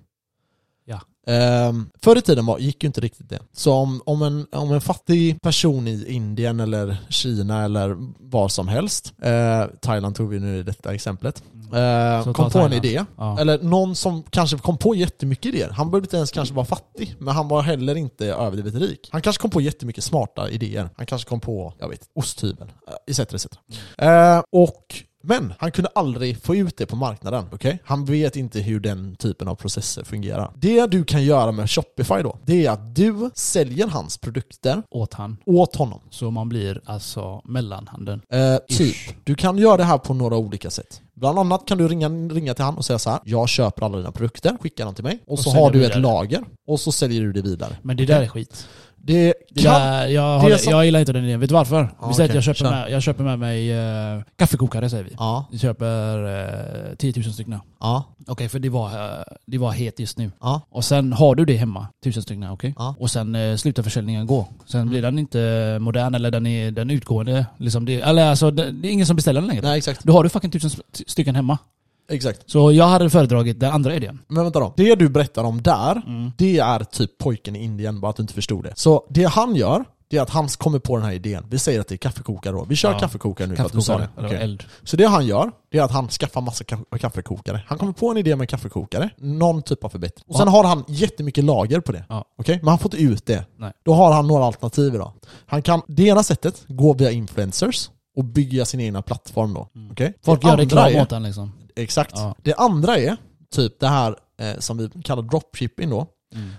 Speaker 2: Ja.
Speaker 1: Ehm, förr i tiden var, gick ju inte riktigt det. Så om, om, en, om en fattig person i Indien eller Kina eller var som helst, eh, Thailand tog vi nu i detta exemplet, eh,
Speaker 2: Mm. Så ta
Speaker 1: kom på en
Speaker 2: Thailand.
Speaker 1: idé.
Speaker 2: Ja.
Speaker 1: Eller någon som kanske kom på jättemycket idéer. Han behövde inte ens kanske vara fattig, men han var heller inte överdrivet rik. Han kanske kom på jättemycket smarta idéer. Han kanske kom på, jag vet, osthyveln, eh, etc. etc. Eh, och men han kunde aldrig få ut det på marknaden. okej? Han vet inte hur den typen av processer fungerar. Det du kan göra med Shopify då, det är att du säljer hans produkter
Speaker 2: Åt han.
Speaker 1: åt honom.
Speaker 2: Så man blir alltså mellanhanden.
Speaker 1: Eh, typ.
Speaker 2: Ish.
Speaker 1: Du kan göra det här på några olika sätt. Bland annat kan du ringa, ringa till han och säga så här. jag köper alla dina produkter, skicka dem till mig och,
Speaker 2: Och
Speaker 1: så
Speaker 2: säljer
Speaker 1: har du
Speaker 2: vidare.
Speaker 1: ett lager och så säljer du det vidare.
Speaker 2: Men det där är skit.
Speaker 1: Det
Speaker 2: Det
Speaker 1: kan...
Speaker 2: där, jag, håller,
Speaker 1: som-
Speaker 2: jag gillar inte den idén. Vet du varför?
Speaker 1: Ja,
Speaker 2: vi
Speaker 1: okej.
Speaker 2: säger att jag
Speaker 1: Kör.
Speaker 2: köper, med, jag köper med mig eh, kaffekokare, säger vi.
Speaker 1: Ja,
Speaker 2: Vi köper eh, 10 000 stycken.
Speaker 1: ja,
Speaker 2: Okej, för det var, eh, det var het just nu.
Speaker 1: ja.
Speaker 2: Och sen har du det hemma, 1000 stycken, okej?
Speaker 1: Ja. Mm.
Speaker 2: Och sen eh, slutar försäljningen gå. Sen blir den inte modern eller den är den är utgående. Liksom det, eller alltså, det, det är ingen som beställer den längre.
Speaker 1: Nej exakt.
Speaker 2: Då har du fucking 1000 stycken hemma.
Speaker 1: Exakt.
Speaker 2: Så jag hade föredragit den andra idén.
Speaker 1: Men vänta då. Det du berättar om där,
Speaker 2: Mm.
Speaker 1: det är typ pojken i Indien, bara att du inte förstod det. Så det han gör, det är att han kommer på den här idén. Vi säger att det är kaffekokare då. Vi kör
Speaker 2: Ja.
Speaker 1: kaffekokare nu för
Speaker 2: Kaffekokare
Speaker 1: att du sa det.
Speaker 2: eller
Speaker 1: Okej.
Speaker 2: eld.
Speaker 1: Så det han gör, det är att han skaffar massa ka- kaffekokare. Han kommer på en idé med en kaffekokare, någon typ av förbättring. Och sen har han jättemycket lager på det.
Speaker 2: Ja.
Speaker 1: Okej? Men han får inte ut det.
Speaker 2: Nej.
Speaker 1: Då har han några alternativ idag. Han kan, det ena sättet, gå via influencers och bygga sin egna plattform då. Okej?
Speaker 2: Folk
Speaker 1: Mm. Det
Speaker 2: gör
Speaker 1: andra
Speaker 2: reklam
Speaker 1: är-
Speaker 2: åt den liksom.
Speaker 1: Exakt.
Speaker 2: Ja.
Speaker 1: Det andra är typ det här eh, som vi kallar dropshipping då.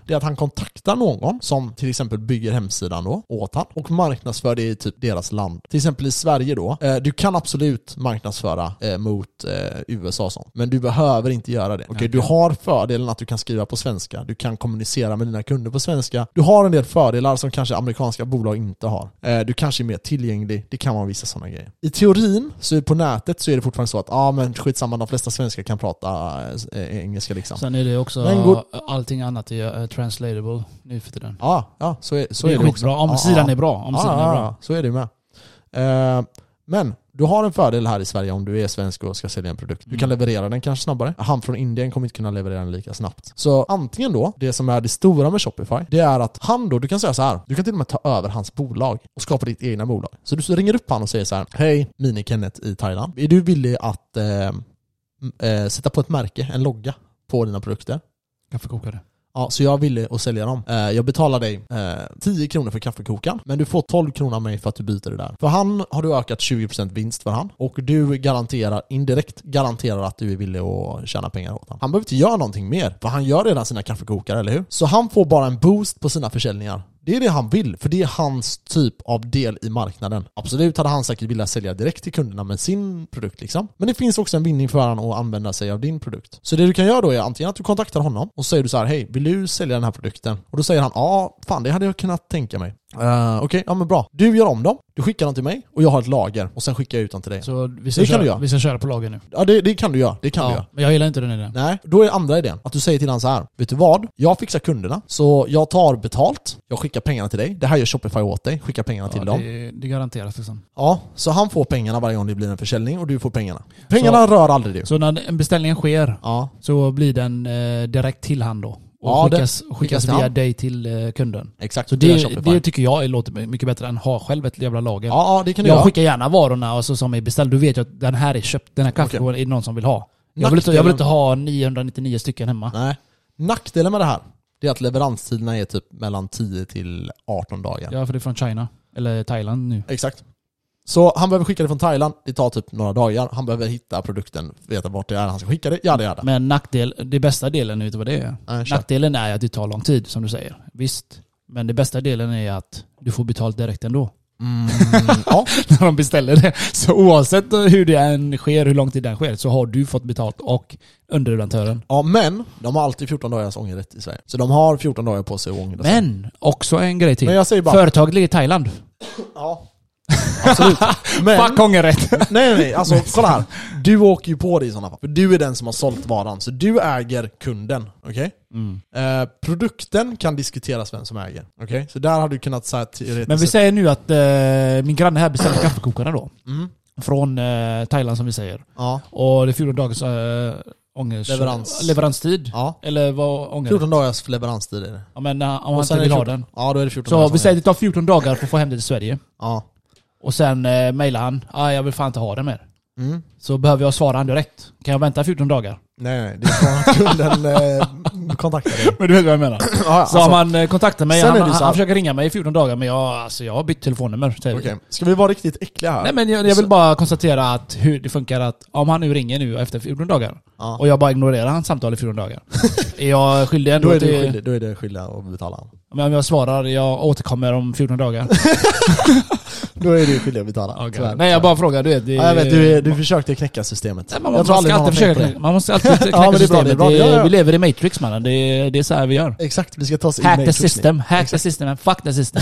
Speaker 1: Det är att han kontaktar någon som till exempel bygger hemsidan då åt han och marknadsför det i typ deras land. Till exempel i Sverige då. Eh, du kan absolut marknadsföra eh, mot eh, USA och sånt. Men du behöver inte göra det. Okej, Du har fördelen att du kan skriva på svenska. Du kan kommunicera med dina kunder på svenska. Du har en del fördelar som kanske amerikanska bolag inte har. Eh, du kanske är mer tillgänglig. Det kan vara vissa sådana grejer. I teorin, så på nätet, så är det fortfarande så att ah, men skitsamma, de flesta svenskar kan prata eh, engelska liksom.
Speaker 2: Sen är det också
Speaker 1: Men går-
Speaker 2: allting annat är eh, translatable nu för tiden.
Speaker 1: Ja, ja, så är, så
Speaker 2: det
Speaker 1: är
Speaker 2: är
Speaker 1: det också.
Speaker 2: skitbra. Om
Speaker 1: Ja,
Speaker 2: sidan
Speaker 1: ja.
Speaker 2: är bra. Om
Speaker 1: Ja,
Speaker 2: sidan
Speaker 1: ja,
Speaker 2: är
Speaker 1: ja,
Speaker 2: bra.
Speaker 1: så är det ju med. Eh, men du har en fördel här i Sverige om du är svensk och ska sälja en produkt. Du
Speaker 2: Mm.
Speaker 1: kan leverera den kanske snabbare. Han från Indien kommer inte kunna leverera den lika snabbt. Så antingen då, det som är det stora med Shopify, det är att han då, du kan säga så här, du kan till och med ta över hans bolag och skapa ditt egna bolag. Så du ringer upp han och säger så här, hej Mini-Kenneth i Thailand. Är du villig att eh, m- eh, sätta på ett märke, en logga, på dina produkter?
Speaker 2: Kaffekokare.
Speaker 1: Ja, så jag ville och sälja dem. Eh, jag betalar dig eh, 10 kronor för kaffekokaren, men du får 12 kronor av mig för att du byter det där. För han har du ökat 20% vinst för han och du garanterar, indirekt garanterar att du är villig att tjäna pengar åt honom. Han behöver inte göra någonting mer, för han gör redan sina kaffekokare, eller hur? Så han får bara en boost på sina försäljningar. Det är det han vill, för det är hans typ av del i marknaden. Absolut hade han säkert velat sälja direkt till kunderna med sin produkt liksom. Men det finns också en vinning för han att använda sig av din produkt. Så det du kan göra då är antingen att du kontaktar honom och säger du så här, hej, vill du sälja den här produkten? Och då säger han, ja, fan det hade jag kunnat tänka mig. Eh, Okej, ja men bra. Du gör om dem, du skickar dem till mig och jag har ett lager och sen skickar jag ut dem till dig.
Speaker 2: Så vi ska,
Speaker 1: Det kan du
Speaker 2: köra,
Speaker 1: göra.
Speaker 2: vi ska köra på lager nu.
Speaker 1: Ja, det, det kan du göra. Det kan du göra.
Speaker 2: Men jag gillar inte den idén.
Speaker 1: Nej, då är andra idén att du säger till honom så här. Vet du vad? Jag fixar kunderna, så jag tar betalt, jag skickar pengarna till dig. Det här gör Shopify åt dig, skicka pengarna till
Speaker 2: ja,
Speaker 1: dem.
Speaker 2: det, det garanteras liksom.
Speaker 1: Ja, så han får pengarna varje gång det blir en försäljning och du får pengarna. Pengarna rör aldrig du.
Speaker 2: Så när en beställning sker
Speaker 1: Ja,
Speaker 2: så blir den eh, direkt till han då. Och
Speaker 1: Ja,
Speaker 2: skickas,
Speaker 1: skickas
Speaker 2: skickas
Speaker 1: till
Speaker 2: via
Speaker 1: han.
Speaker 2: dig till eh, kunden.
Speaker 1: exakt.
Speaker 2: Så
Speaker 1: via
Speaker 2: det,
Speaker 1: Shopify.
Speaker 2: det tycker jag låter mycket bättre än att ha själv ett jävla lager.
Speaker 1: ja, ja, det kan du
Speaker 2: jag
Speaker 1: göra.
Speaker 2: skickar gärna varorna och så, som är beställd. Du vet ju att den här är köpt, den här kaffekokaren är det någon som vill ha. Jag vill, inte, jag vill inte ha 999 stycken hemma.
Speaker 1: Nej. Nackdelen med det här, det är att leveranstiderna är typ mellan 10 till 18 dagar.
Speaker 2: Ja, för det är från China. Eller Thailand nu.
Speaker 1: Exakt. Så han behöver skicka det från Thailand, det tar typ några dagar. Han behöver hitta produkten, veta vart det är han ska skicka det. Ja, det är det.
Speaker 2: Men nackdel, det bästa delen, vet du vad det är?
Speaker 1: Nej, kör.
Speaker 2: Nackdelen är att det tar lång tid, som du säger. Visst. Men det bästa delen är att du får betalt direkt ändå.
Speaker 1: Mm, ja.
Speaker 2: När de beställer det. Så oavsett hur det än sker, hur lång tid det än sker, så har du fått betalt och underleverantören.
Speaker 1: Ja, men de har alltid 14 dagars ångerrätt i Sverige. Så de har 14 dagar på sig att ångra sig.
Speaker 2: Men också en grej till.
Speaker 1: Men jag säger bara... Mm.
Speaker 2: Företaget ligger i Thailand.
Speaker 1: Ja. Absolut. Men,
Speaker 2: Fuck ångerrätt!
Speaker 1: nej, nej, alltså kolla här. Du åker ju på det i sådana fall. För du är den som har sålt varan, så du äger kunden. Okej?
Speaker 2: Mm.
Speaker 1: Eh, produkten kan diskuteras vem som äger. Okej? Så där har du kunnat säga teoretiskt...
Speaker 2: Men vi
Speaker 1: sett-
Speaker 2: säger nu att eh, min granne här beställer kaffekokare då.
Speaker 1: Mm.
Speaker 2: Från eh, Thailand som vi säger.
Speaker 1: Ja.
Speaker 2: Och det är 14 dagars äh, ångers...
Speaker 1: Leverans.
Speaker 2: leveranstid.
Speaker 1: ja.
Speaker 2: Eller vad ånger?
Speaker 1: 14 dagars leveranstid är det.
Speaker 2: Ja, men eh, om
Speaker 1: Och
Speaker 2: han
Speaker 1: sen är
Speaker 2: inte vill
Speaker 1: det
Speaker 2: ha
Speaker 1: 14
Speaker 2: den.
Speaker 1: Ja, då är det 14
Speaker 2: Så
Speaker 1: dagars
Speaker 2: vi säger
Speaker 1: ångerrätt.
Speaker 2: att det tar 14 dagar för att få hem det till Sverige.
Speaker 1: Ja.
Speaker 2: Och sen eh, mejlar han. Ah, jag vill fan inte ha den mer.
Speaker 1: Mm.
Speaker 2: Så behöver jag svara han direkt. Kan jag vänta 14 dagar?
Speaker 1: Nej, nej. Det är från att kunden eh, kontaktar dig.
Speaker 2: Men du vet vad jag menar.
Speaker 1: Ja, ja,
Speaker 2: Så om han eh, kontaktar mig,
Speaker 1: Sen är
Speaker 2: han,
Speaker 1: det så
Speaker 2: han,
Speaker 1: här-
Speaker 2: han försöker ringa mig i 14 dagar men jag, alltså, jag har bytt telefonnummer. säger vi.
Speaker 1: Okej, ska vi vara riktigt äckliga här?
Speaker 2: Nej men jag, jag vill bara konstatera att hur det funkar att om han nu ringer nu efter 14 dagar
Speaker 1: Ja.
Speaker 2: och jag bara ignorerar hans samtal i 14 dagar. är jag skyldig ändå
Speaker 1: Då är,
Speaker 2: till-
Speaker 1: det skyldig, då är det skyldiga att betala.
Speaker 2: Men om jag svarar jag återkommer om 14 dagar.
Speaker 1: Då är du skyldig att betala.
Speaker 2: Okej.
Speaker 1: tyvärr.
Speaker 2: Nej jag bara frågar, du vet. Det,
Speaker 1: Ja, jag vet, du, du försökte knäcka systemet.
Speaker 2: Nej, man,
Speaker 1: jag
Speaker 2: man, ska
Speaker 1: någon
Speaker 2: alltid
Speaker 1: har
Speaker 2: försöka
Speaker 1: tänkt på det.
Speaker 2: knäcka, man måste alltid knäcka
Speaker 1: Ja, men det är bra,
Speaker 2: systemet.
Speaker 1: det är bra. Ja, ja.
Speaker 2: Vi lever i Matrix mannen, det, är- det är så här vi gör.
Speaker 1: Exakt, vi ska ta oss in i
Speaker 2: Hack the
Speaker 1: Matrix nu.
Speaker 2: system, hack the system, and fuck the system.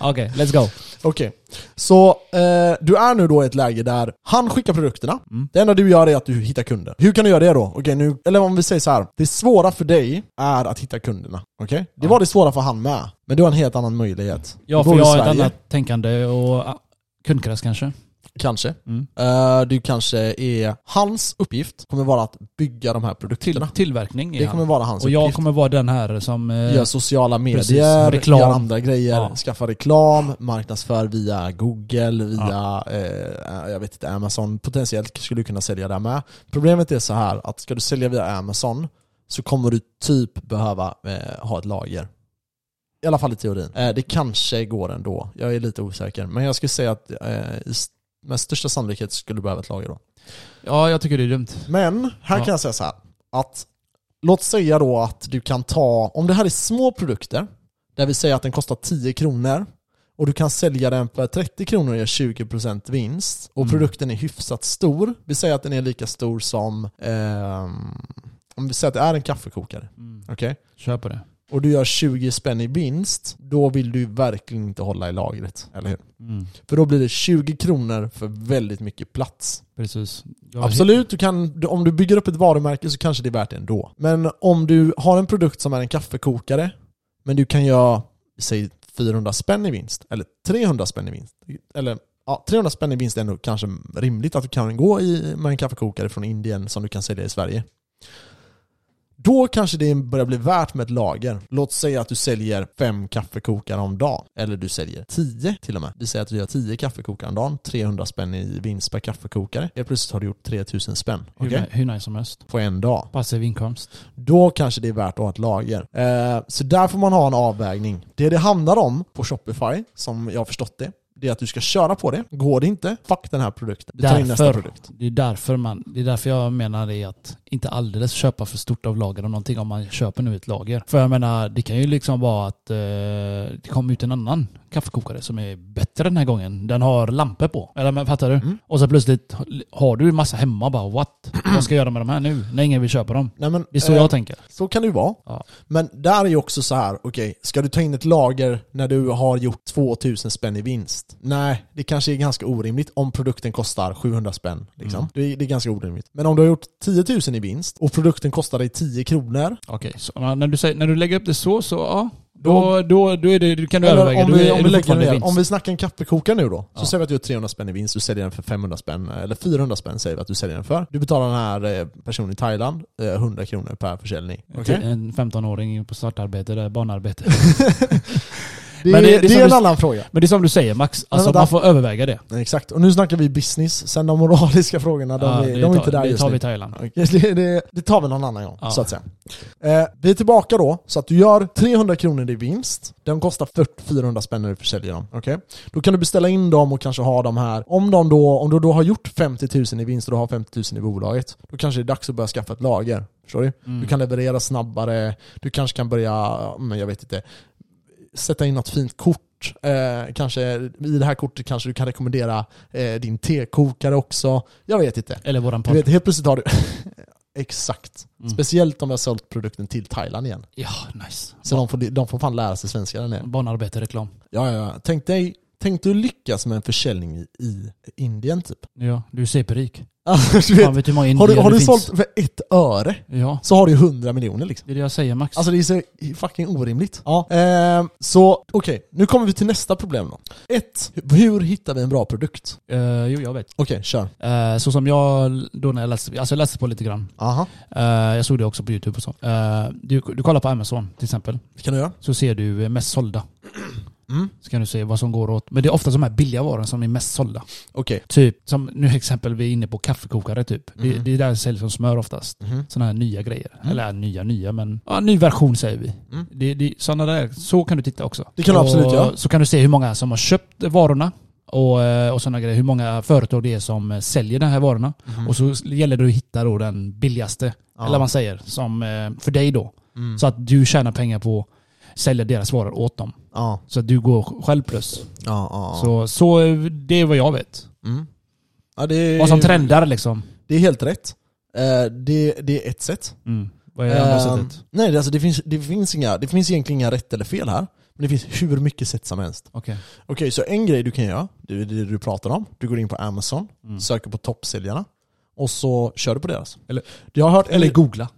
Speaker 2: Okej, let's go.
Speaker 1: Okej, så eh, du är nu då i ett läge där han skickar produkterna.
Speaker 2: Mm.
Speaker 1: Det enda du gör är att du hittar kunder. Hur kan du göra det då? Okej, nu, eller om vi säger så här. Det svåra för dig är att hitta kunderna. Okej? Det var det svåra för han med. Men du har en helt annan möjlighet.
Speaker 2: Ja,
Speaker 1: Du
Speaker 2: för
Speaker 1: bor i
Speaker 2: jag har ett
Speaker 1: Sverige.
Speaker 2: annat tänkande och ah, kundkrets kanske.
Speaker 1: Kanske.
Speaker 2: Mm.
Speaker 1: Eh, du kanske är... Hans uppgift kommer vara att bygga de här produkterna.
Speaker 2: Tillverkning är
Speaker 1: Det kommer
Speaker 2: han.
Speaker 1: vara hans
Speaker 2: Och jag
Speaker 1: uppgift.
Speaker 2: kommer vara den här som... eh,
Speaker 1: Gör sociala medier,
Speaker 2: Precis, och reklam.
Speaker 1: gör andra grejer,
Speaker 2: Ja.
Speaker 1: skaffa reklam, marknadsför via Google, via eh, jag vet inte, Amazon. Potentiellt skulle du kunna sälja där med. Problemet är så här att ska du sälja via Amazon så kommer du typ behöva eh, ha ett lager. I alla fall i teorin. Eh, det kanske går ändå. Jag är lite osäker. Men jag skulle säga att eh, i s- med största sannolikhet skulle du behöva ett lager då.
Speaker 2: Ja, jag tycker det är dumt.
Speaker 1: Men här
Speaker 2: Ja.
Speaker 1: kan jag säga så här. Att, låt säga då att du kan ta, om det här är små produkter, där vi säger att den kostar 10 kronor och du kan sälja den för 30 kronor och göra 20% vinst och
Speaker 2: Mm.
Speaker 1: produkten är hyfsat stor. Vi säger att den är lika stor som, ehm, om vi säger att det är en kaffekokare,
Speaker 2: Mm.
Speaker 1: okej?
Speaker 2: Kör på det.
Speaker 1: Och du gör 20 spänn i vinst, då vill du verkligen inte hålla i lagret, eller hur?
Speaker 2: Mm.
Speaker 1: För då blir det 20 kronor för väldigt mycket plats.
Speaker 2: Precis. Jag-
Speaker 1: Absolut, du kan, du- om du bygger upp ett varumärke så kanske det är värt det ändå. Men om du har en produkt som är en kaffekokare, men du kan göra, säg 400 spänn i vinst, eller 300 spänn i vinst. Eller ja, 300 spänn i vinst är ändå kanske rimligt att du kan gå i, med en kaffekokare från Indien som du kan sälja i Sverige. Då kanske det börjar bli värt med ett lager. Låt säga att du säljer fem kaffekokare om dagen. Eller du säljer tio till och med. Vi säger att du gör tio kaffekokare om dagen. 300 spänn i vinst per kaffekokare. Helt plötsligt har du gjort 3000 spänn.
Speaker 2: Hur,
Speaker 1: okej?
Speaker 2: hur nice som helst.
Speaker 1: På en dag.
Speaker 2: Passiv inkomst.
Speaker 1: Då kanske det är värt att ha ett lager. Eh, så där får man ha en avvägning. Det det handlar om på Shopify, som jag har förstått det, det är att du ska köra på det. Går det inte, fuck den här produkten. Du tar in nästa
Speaker 2: Därför.
Speaker 1: produkt.
Speaker 2: Det är därför man, det är därför jag menar det att inte alldeles köpa för stort av lager av någonting om man köper nu ett lager. För jag menar, det kan ju liksom vara att eh, det kommer ut en annan kaffekokare som är bättre den här gången. Den har lampor på. Eller men fattar du?
Speaker 1: Mm.
Speaker 2: Och så plötsligt har du en massa hemma bara what? Vad ska jag göra med de här nu? När ingen vill köpa dem.
Speaker 1: Nej, men,
Speaker 2: Det är så
Speaker 1: eh,
Speaker 2: jag tänker.
Speaker 1: Så kan det ju vara.
Speaker 2: Ja.
Speaker 1: Men där är ju också så här, okej, ska du ta in ett lager när du har gjort 2000 spänn i vinst? Nej, det kanske är ganska orimligt om produkten kostar 700 spänn. Liksom.
Speaker 2: Mm.
Speaker 1: Det, är, det är ganska orimligt. Men om du har gjort 10 000 i vinst och produkten kostar dig 10 kronor,
Speaker 2: Okej, så när, du säger, när du lägger upp det så, så ja. Då, då, då är det, du kan du
Speaker 1: Eller
Speaker 2: överväga.
Speaker 1: om,
Speaker 2: Då
Speaker 1: vi,
Speaker 2: är-
Speaker 1: om, vi
Speaker 2: är du
Speaker 1: lägger
Speaker 2: fortfarande i
Speaker 1: ner,
Speaker 2: vinst.
Speaker 1: om vi snackar en kaffekokare nu då, så
Speaker 2: Ja.
Speaker 1: säger vi att du har 300 spänn i vinst, du säljer den för 500 spänn, eller 400 spänn säger vi att du säljer den för. Du betalar den här eh, personen i Thailand eh, 100 kronor per försäljning.
Speaker 2: Till En 15-åring på svartarbete, eller barnarbete.
Speaker 1: Det,
Speaker 2: Men det- det
Speaker 1: är-
Speaker 2: är
Speaker 1: det
Speaker 2: som
Speaker 1: är en
Speaker 2: du-
Speaker 1: annan fråga.
Speaker 2: Men det är som du säger Max,
Speaker 1: Men
Speaker 2: alltså
Speaker 1: vänta.
Speaker 2: man får överväga det.
Speaker 1: Exakt, och nu snackar vi business, sen de moraliska frågorna, de,
Speaker 2: Ja,
Speaker 1: är, de
Speaker 2: det
Speaker 1: är
Speaker 2: tar-
Speaker 1: inte där
Speaker 2: Det
Speaker 1: just
Speaker 2: tar vi
Speaker 1: nu.
Speaker 2: i Thailand.
Speaker 1: Okej, Det, det, det tar vi någon annan gång,
Speaker 2: Ja.
Speaker 1: så att säga. Eh, vi är tillbaka då, så att du gör 300 kronor i vinst. De kostar 40 400 spänn när du försäljer dem. Okay? Då kan du beställa in dem och kanske ha dem här. Om, de då, om du då har gjort 50 000 i vinst och du har 50 000 i bolaget, då kanske det är dags att börja skaffa ett lager. Förstår du?
Speaker 2: Mm.
Speaker 1: Du kan leverera snabbare, du kanske kan börja, men jag vet inte, sätta in något fint kort. Eh, kanske, I det här kortet kanske du kan rekommendera eh, din tekokare också. Jag vet inte.
Speaker 2: Eller våran
Speaker 1: Du
Speaker 2: podd.
Speaker 1: vet, helt plötsligt har du... Exakt.
Speaker 2: Mm.
Speaker 1: Speciellt om jag har sålt produkten till Thailand igen.
Speaker 2: Ja, nice.
Speaker 1: Så de, får, de får fan lära sig svenska den igen.
Speaker 2: Barnarbete, reklam.
Speaker 1: Ja, ja, ja. Tänk dig, tänk du lyckas med en försäljning i, i Indien typ.
Speaker 2: Ja, du är superrik.
Speaker 1: Alltså, du
Speaker 2: Fan
Speaker 1: vet,
Speaker 2: vet du hur många
Speaker 1: har du,
Speaker 2: indier
Speaker 1: har
Speaker 2: det
Speaker 1: du
Speaker 2: finns?
Speaker 1: sålt för ett öre
Speaker 2: Ja,
Speaker 1: så har du 100 miljoner liksom.
Speaker 2: det är det jag säger Max.
Speaker 1: Alltså det är så fucking orimligt. Ja. Ehm, så okej, nu kommer vi till nästa problem då. Ett, hur hittar vi en bra produkt?
Speaker 2: Eh, jo, jag vet.
Speaker 1: Okej, kör.
Speaker 2: Eh, så som jag, då när jag läste, alltså jag läste på lite grann.
Speaker 1: Aha.
Speaker 2: Eh, jag såg det också på YouTube och så. Eh, du, du kollar på Amazon till exempel.
Speaker 1: Det kan du göra.
Speaker 2: Så ser du eh, mest sålda.
Speaker 1: Mm.
Speaker 2: Så kan du se vad som går åt. Men det är ofta de här billiga varorna som är mest sålda.
Speaker 1: Okej.
Speaker 2: Typ, som nu exempel vi är inne på kaffekokare typ. Det,
Speaker 1: Mhm.
Speaker 2: det är där det säljs som smör oftast.
Speaker 1: Mhm.
Speaker 2: sådana här nya grejer.
Speaker 1: Mm.
Speaker 2: Eller nya, nya, men ja, ny version säger vi.
Speaker 1: Mm.
Speaker 2: Det, det, såna där, så kan du titta också.
Speaker 1: Det kan du
Speaker 2: och,
Speaker 1: absolut göra.
Speaker 2: Så kan du se hur många som har köpt varorna och, eh, och sådana grejer. Hur många företag det är som eh, säljer de här varorna.
Speaker 1: Mhm.
Speaker 2: Och så gäller det att hitta då den billigaste,
Speaker 1: Ja.
Speaker 2: eller vad man säger, som, eh, för dig då.
Speaker 1: Mm.
Speaker 2: Så att du tjänar pengar på sälja deras varor åt dem.
Speaker 1: Ja,
Speaker 2: Så att du går själv plus.
Speaker 1: ja, ja.
Speaker 2: Så, så eh, det är vad jag vet.
Speaker 1: Mm. Ja, det, är,
Speaker 2: Vad som trendar liksom.
Speaker 1: det är helt rätt. Eh, det, det är ett sätt.
Speaker 2: Mm. Vad är det andra
Speaker 1: Ehm,
Speaker 2: sättet?
Speaker 1: Nej, det- alltså det finns, det, finns inga, det finns egentligen inga rätt eller fel här. Men det finns hur mycket sätt som helst.
Speaker 2: Okej.
Speaker 1: Okej, så en grej du kan göra, det är det du pratar om. Du går in på Amazon,
Speaker 2: Mm.
Speaker 1: söker på toppsäljarna och så kör du på deras.
Speaker 2: Eller-
Speaker 1: jag har hört,
Speaker 2: Eller googla.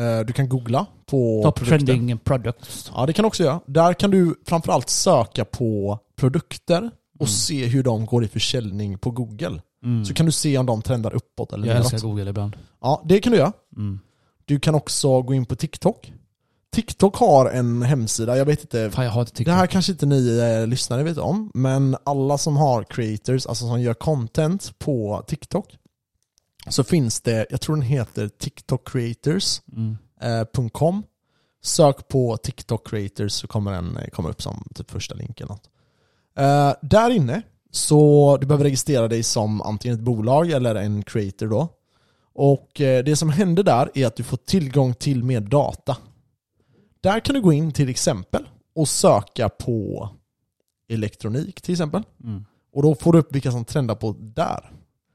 Speaker 1: eh, du kan googla på
Speaker 2: Top
Speaker 1: produkter.
Speaker 2: trending products.
Speaker 1: Ja, det kan du också göra. Där kan du framförallt söka på produkter och
Speaker 2: Mm.
Speaker 1: se hur de går i försäljning på Google.
Speaker 2: Mm.
Speaker 1: Så kan du se om de trendar uppåt eller
Speaker 2: jag älskar
Speaker 1: neråt.
Speaker 2: Google ibland.
Speaker 1: Ja, det kan du göra.
Speaker 2: Mm.
Speaker 1: Du kan också gå in på TikTok. TikTok har en hemsida, jag vet inte.
Speaker 2: Fan jag hatar TikTok.
Speaker 1: Det här kanske inte ni eh, lyssnare vet om, men alla som har creators, alltså som gör content på TikTok, så finns det, jag tror den heter TikTokcreators.com.
Speaker 2: Mm.
Speaker 1: Sök på TikTok creators så kommer den eh, komma upp som typ första länk eller något. Eh, där inne, så du behöver registrera dig som antingen ett bolag eller en creator då. Och eh, det som händer där är att du får tillgång till mer data. Där kan du gå in till exempel och söka på elektronik till exempel.
Speaker 2: Mm.
Speaker 1: Och då får du upp vilka som trendar på där.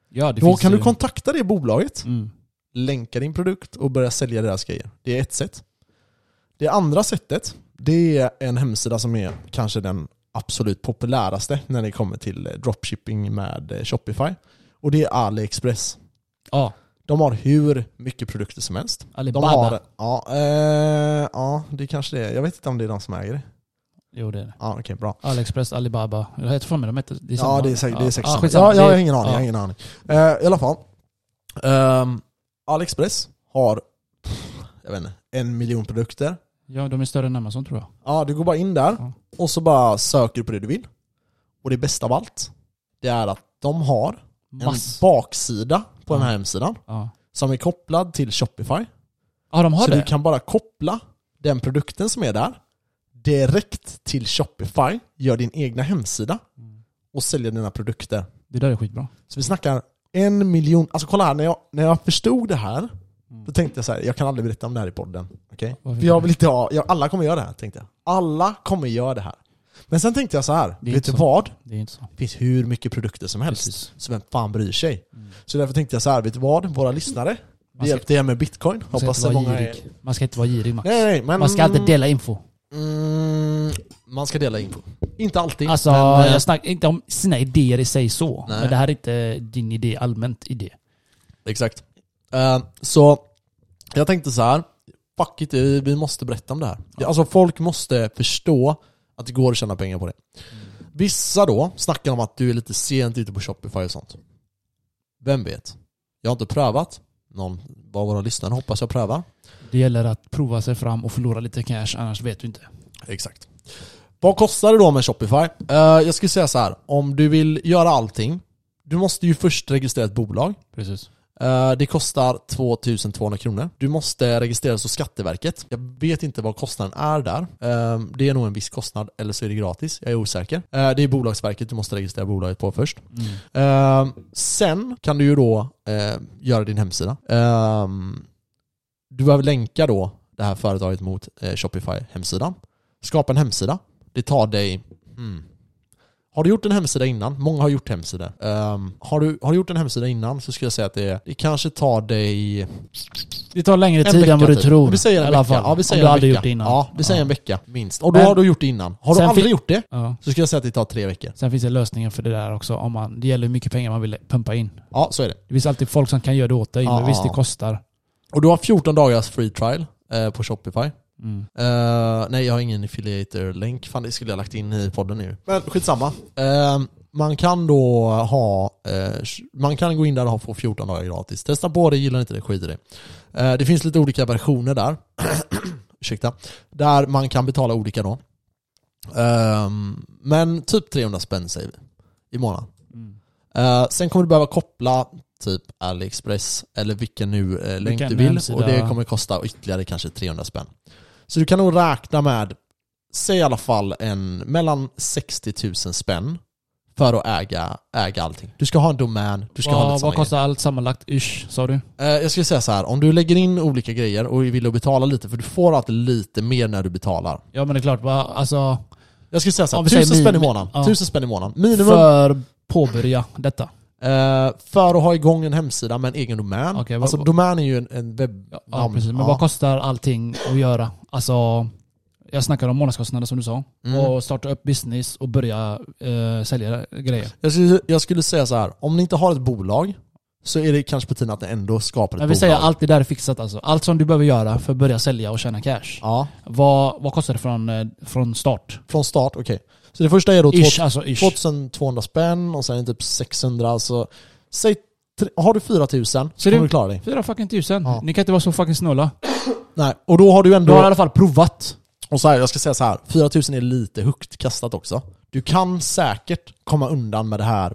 Speaker 2: Ja, det
Speaker 1: Då
Speaker 2: finns
Speaker 1: kan
Speaker 2: det
Speaker 1: du
Speaker 2: ju.
Speaker 1: kontakta det bolaget
Speaker 2: mm.
Speaker 1: länka din produkt och börja sälja deras grejer. Det är ett sätt. Det andra sättet, det är en hemsida som är kanske den absolut populäraste när det kommer till eh, dropshipping med eh, Shopify. Och det är AliExpress.
Speaker 2: Ja,
Speaker 1: De har hur mycket produkter som helst. De
Speaker 2: Alibaba.
Speaker 1: har, ja, eh, ja, det kanske det är. Jag vet inte om det är de som äger det.
Speaker 2: Jo det är det.
Speaker 1: Ja, okej, bra.
Speaker 2: Aliexpress, Alibaba. Jag heter för mig de heter. Det är
Speaker 1: Ja,
Speaker 2: samma.
Speaker 1: det är säkert, det är säkert samma.
Speaker 2: skitsamma.
Speaker 1: ja, Jag har
Speaker 2: Det-
Speaker 1: ingen aning. Jag har
Speaker 2: ja.
Speaker 1: ingen aning. Eh, I alla fall. Ehm, AliExpress har, pff, jag vet inte, en miljon produkter.
Speaker 2: Ja, de är större än Amazon tror jag.
Speaker 1: Ja, du går bara in där
Speaker 2: Ja.
Speaker 1: och så bara söker du på det du vill. Och det bästa av allt, det är att de har en
Speaker 2: Mass.
Speaker 1: baksida på
Speaker 2: Ja.
Speaker 1: den här hemsidan
Speaker 2: Ja,
Speaker 1: som är kopplad till Shopify.
Speaker 2: ja de har
Speaker 1: så
Speaker 2: det.
Speaker 1: du kan bara koppla den produkten som är där direkt till Shopify, gör din egna hemsida
Speaker 2: Mm.
Speaker 1: och säljer dina produkter.
Speaker 2: Det där är skitbra.
Speaker 1: Så vi snackar en miljon, alltså kolla här, när jag, när jag förstod det här
Speaker 2: Mm.
Speaker 1: då tänkte jag så här, jag kan aldrig berätta om det här i podden. Okej?
Speaker 2: Varför
Speaker 1: För jag
Speaker 2: inte?
Speaker 1: vill inte ha, jag, alla kommer göra det här tänkte jag. Alla kommer göra det här. Men sen tänkte jag så här,
Speaker 2: Det är
Speaker 1: vet
Speaker 2: inte
Speaker 1: du
Speaker 2: så.
Speaker 1: vad?
Speaker 2: Det är inte så.
Speaker 1: Det finns hur mycket produkter som helst.
Speaker 2: Precis. Mm.
Speaker 1: Så vem fan bryr sig? Så därför tänkte jag så här, vet du vad? Våra lyssnare,
Speaker 2: Man
Speaker 1: vi
Speaker 2: ska-
Speaker 1: hjälpte er med bitcoin.
Speaker 2: Man ska,
Speaker 1: Hoppas
Speaker 2: inte
Speaker 1: det
Speaker 2: vara
Speaker 1: många är...
Speaker 2: girig. man ska inte vara girig Max.
Speaker 1: Nej, nej, men...
Speaker 2: Man ska alltid dela info.
Speaker 1: Mm, man ska dela info. Inte alltid.
Speaker 2: Alltså,
Speaker 1: men, eh,
Speaker 2: jag snackar inte om sina idéer i sig så.
Speaker 1: Nej.
Speaker 2: Men det här är inte din idé, allmänt idé.
Speaker 1: Exakt. Eh, så jag tänkte så här. fuck it, vi vi måste berätta om det här. Alltså folk måste förstå att det går att tjäna pengar på det. Vissa då snackar om att du är lite sent ute på Shopify och sånt. Vem vet? Jag har inte prövat. Någon av våra lyssnare hoppas jag prövar.
Speaker 2: Det gäller att prova sig fram och förlora lite cash, annars vet du inte.
Speaker 1: Exakt. Vad kostar det då med Shopify? Eh, jag skulle säga så här. om du vill göra allting, du måste ju först registrera ett bolag.
Speaker 2: Precis.
Speaker 1: Eh, Det kostar 2200 kronor. Du måste registreras hos Skatteverket. Jag vet inte vad kostnaden är där. Eh, Det är nog en viss kostnad, eller så är det gratis. Jag är osäker. Eh, Det är Bolagsverket du måste registrera bolaget på först.
Speaker 2: Mm.
Speaker 1: Eh, Sen kan du ju då eh, göra din hemsida. Eh, Du behöver länka då det här företaget mot eh, Shopify-hemsidan. Skapa en hemsida. Det tar dig... Mm, har du gjort en hemsida innan? Många har gjort hemsidor. Ehm, har, du, har du gjort en hemsida innan så skulle jag säga att det, det kanske tar dig...
Speaker 2: Det tar längre
Speaker 1: En
Speaker 2: tid
Speaker 1: vecka
Speaker 2: än vad du
Speaker 1: typ.
Speaker 2: tror.
Speaker 1: Vi säger en
Speaker 2: i alla
Speaker 1: vecka.
Speaker 2: fall.
Speaker 1: Ja, vi säger
Speaker 2: Om du
Speaker 1: en
Speaker 2: aldrig
Speaker 1: vecka.
Speaker 2: gjort det innan.
Speaker 1: Ja, vi säger
Speaker 2: Ja.
Speaker 1: en vecka minst. Och då
Speaker 2: Men-
Speaker 1: har du gjort det innan. Har du
Speaker 2: Sen
Speaker 1: aldrig
Speaker 2: fin-
Speaker 1: gjort det
Speaker 2: Ja.
Speaker 1: så skulle jag säga att det tar tre veckor.
Speaker 2: Sen finns det lösningar för det där också. Om man, det gäller hur mycket pengar man vill pumpa in.
Speaker 1: Ja, så är det.
Speaker 2: Det finns alltid folk som kan göra det åt dig.
Speaker 1: Ja,
Speaker 2: men visst,
Speaker 1: ja.
Speaker 2: det kostar.
Speaker 1: Och du har 14 dagars free trial eh, på Shopify.
Speaker 2: Mm.
Speaker 1: Eh, nej, jag har ingen affiliator-länk. Fan, det skulle jag lagt in i podden nu. Men skitsamma. Eh, man kan då ha... eh, man kan gå in där och få 14 dagar gratis. Testa på det, gillar inte det, skit i det. Eh, det finns lite olika versioner där. Ursäkta. Där man kan betala olika då. Eh, men typ 300 spänn säger vi. I månaden.
Speaker 2: Mm.
Speaker 1: Eh, sen kommer du behöva koppla typ AliExpress eller vilken nu eh, länk
Speaker 2: Vilken
Speaker 1: du vill
Speaker 2: hemsida.
Speaker 1: och det kommer kosta ytterligare kanske 300 spänn. Så du kan nog räkna med, säg i alla fall en mellan 60 000 spänn för att äga, äga allting. Du ska ha en domän, du ska ha lite
Speaker 2: Vad,
Speaker 1: samma
Speaker 2: vad
Speaker 1: grejer.
Speaker 2: kostar allt sammanlagt? Ish, sa du?
Speaker 1: Eh, Jag skulle säga så här, om du lägger in olika grejer och vill betala lite, för du får alltid lite mer när du betalar.
Speaker 2: Ja men det är klart, va, alltså
Speaker 1: Jag skulle säga så här,
Speaker 2: Om vi
Speaker 1: tusen
Speaker 2: säger
Speaker 1: spänn i
Speaker 2: min-
Speaker 1: månaden.
Speaker 2: ja.
Speaker 1: Tusen spänn i månaden. Minimum för...
Speaker 2: för påbörja detta.
Speaker 1: Eh, för att ha igång en hemsida med en egen domän.
Speaker 2: Okej, vad-
Speaker 1: alltså domän är ju en, en webb...
Speaker 2: Ja,
Speaker 1: Ja,
Speaker 2: precis. Men
Speaker 1: ja.
Speaker 2: vad kostar allting att göra? Alltså, jag snackar om månadskostnader som du sa.
Speaker 1: Mm.
Speaker 2: Och starta upp business och börja eh, sälja grejer.
Speaker 1: Jag skulle, jag skulle säga så här, om ni inte har ett bolag så är det kanske på tiden att ni ändå skapar ett
Speaker 2: Jag
Speaker 1: bolag.
Speaker 2: vill säga allt det där är fixat alltså. Allt som du behöver göra för att börja sälja och tjäna cash.
Speaker 1: Ja,
Speaker 2: Vad, vad kostar det från, eh, från start?
Speaker 1: från start, okej. Så det första är då
Speaker 2: Ish, alltså ish.
Speaker 1: 2200 spänn och sen är det typ 600, så säg, tre- har du 4000 så
Speaker 2: Så det-
Speaker 1: kommer du klara dig.
Speaker 2: Fyra fucking tusen.
Speaker 1: Ja.
Speaker 2: Ni kan inte vara så fucking snåla.
Speaker 1: Nej, och då har du
Speaker 2: Du
Speaker 1: ändå...
Speaker 2: har i alla fall provat.
Speaker 1: Och så här, jag ska säga så här, 4000 är lite högt kastat också. Du kan säkert komma undan med det här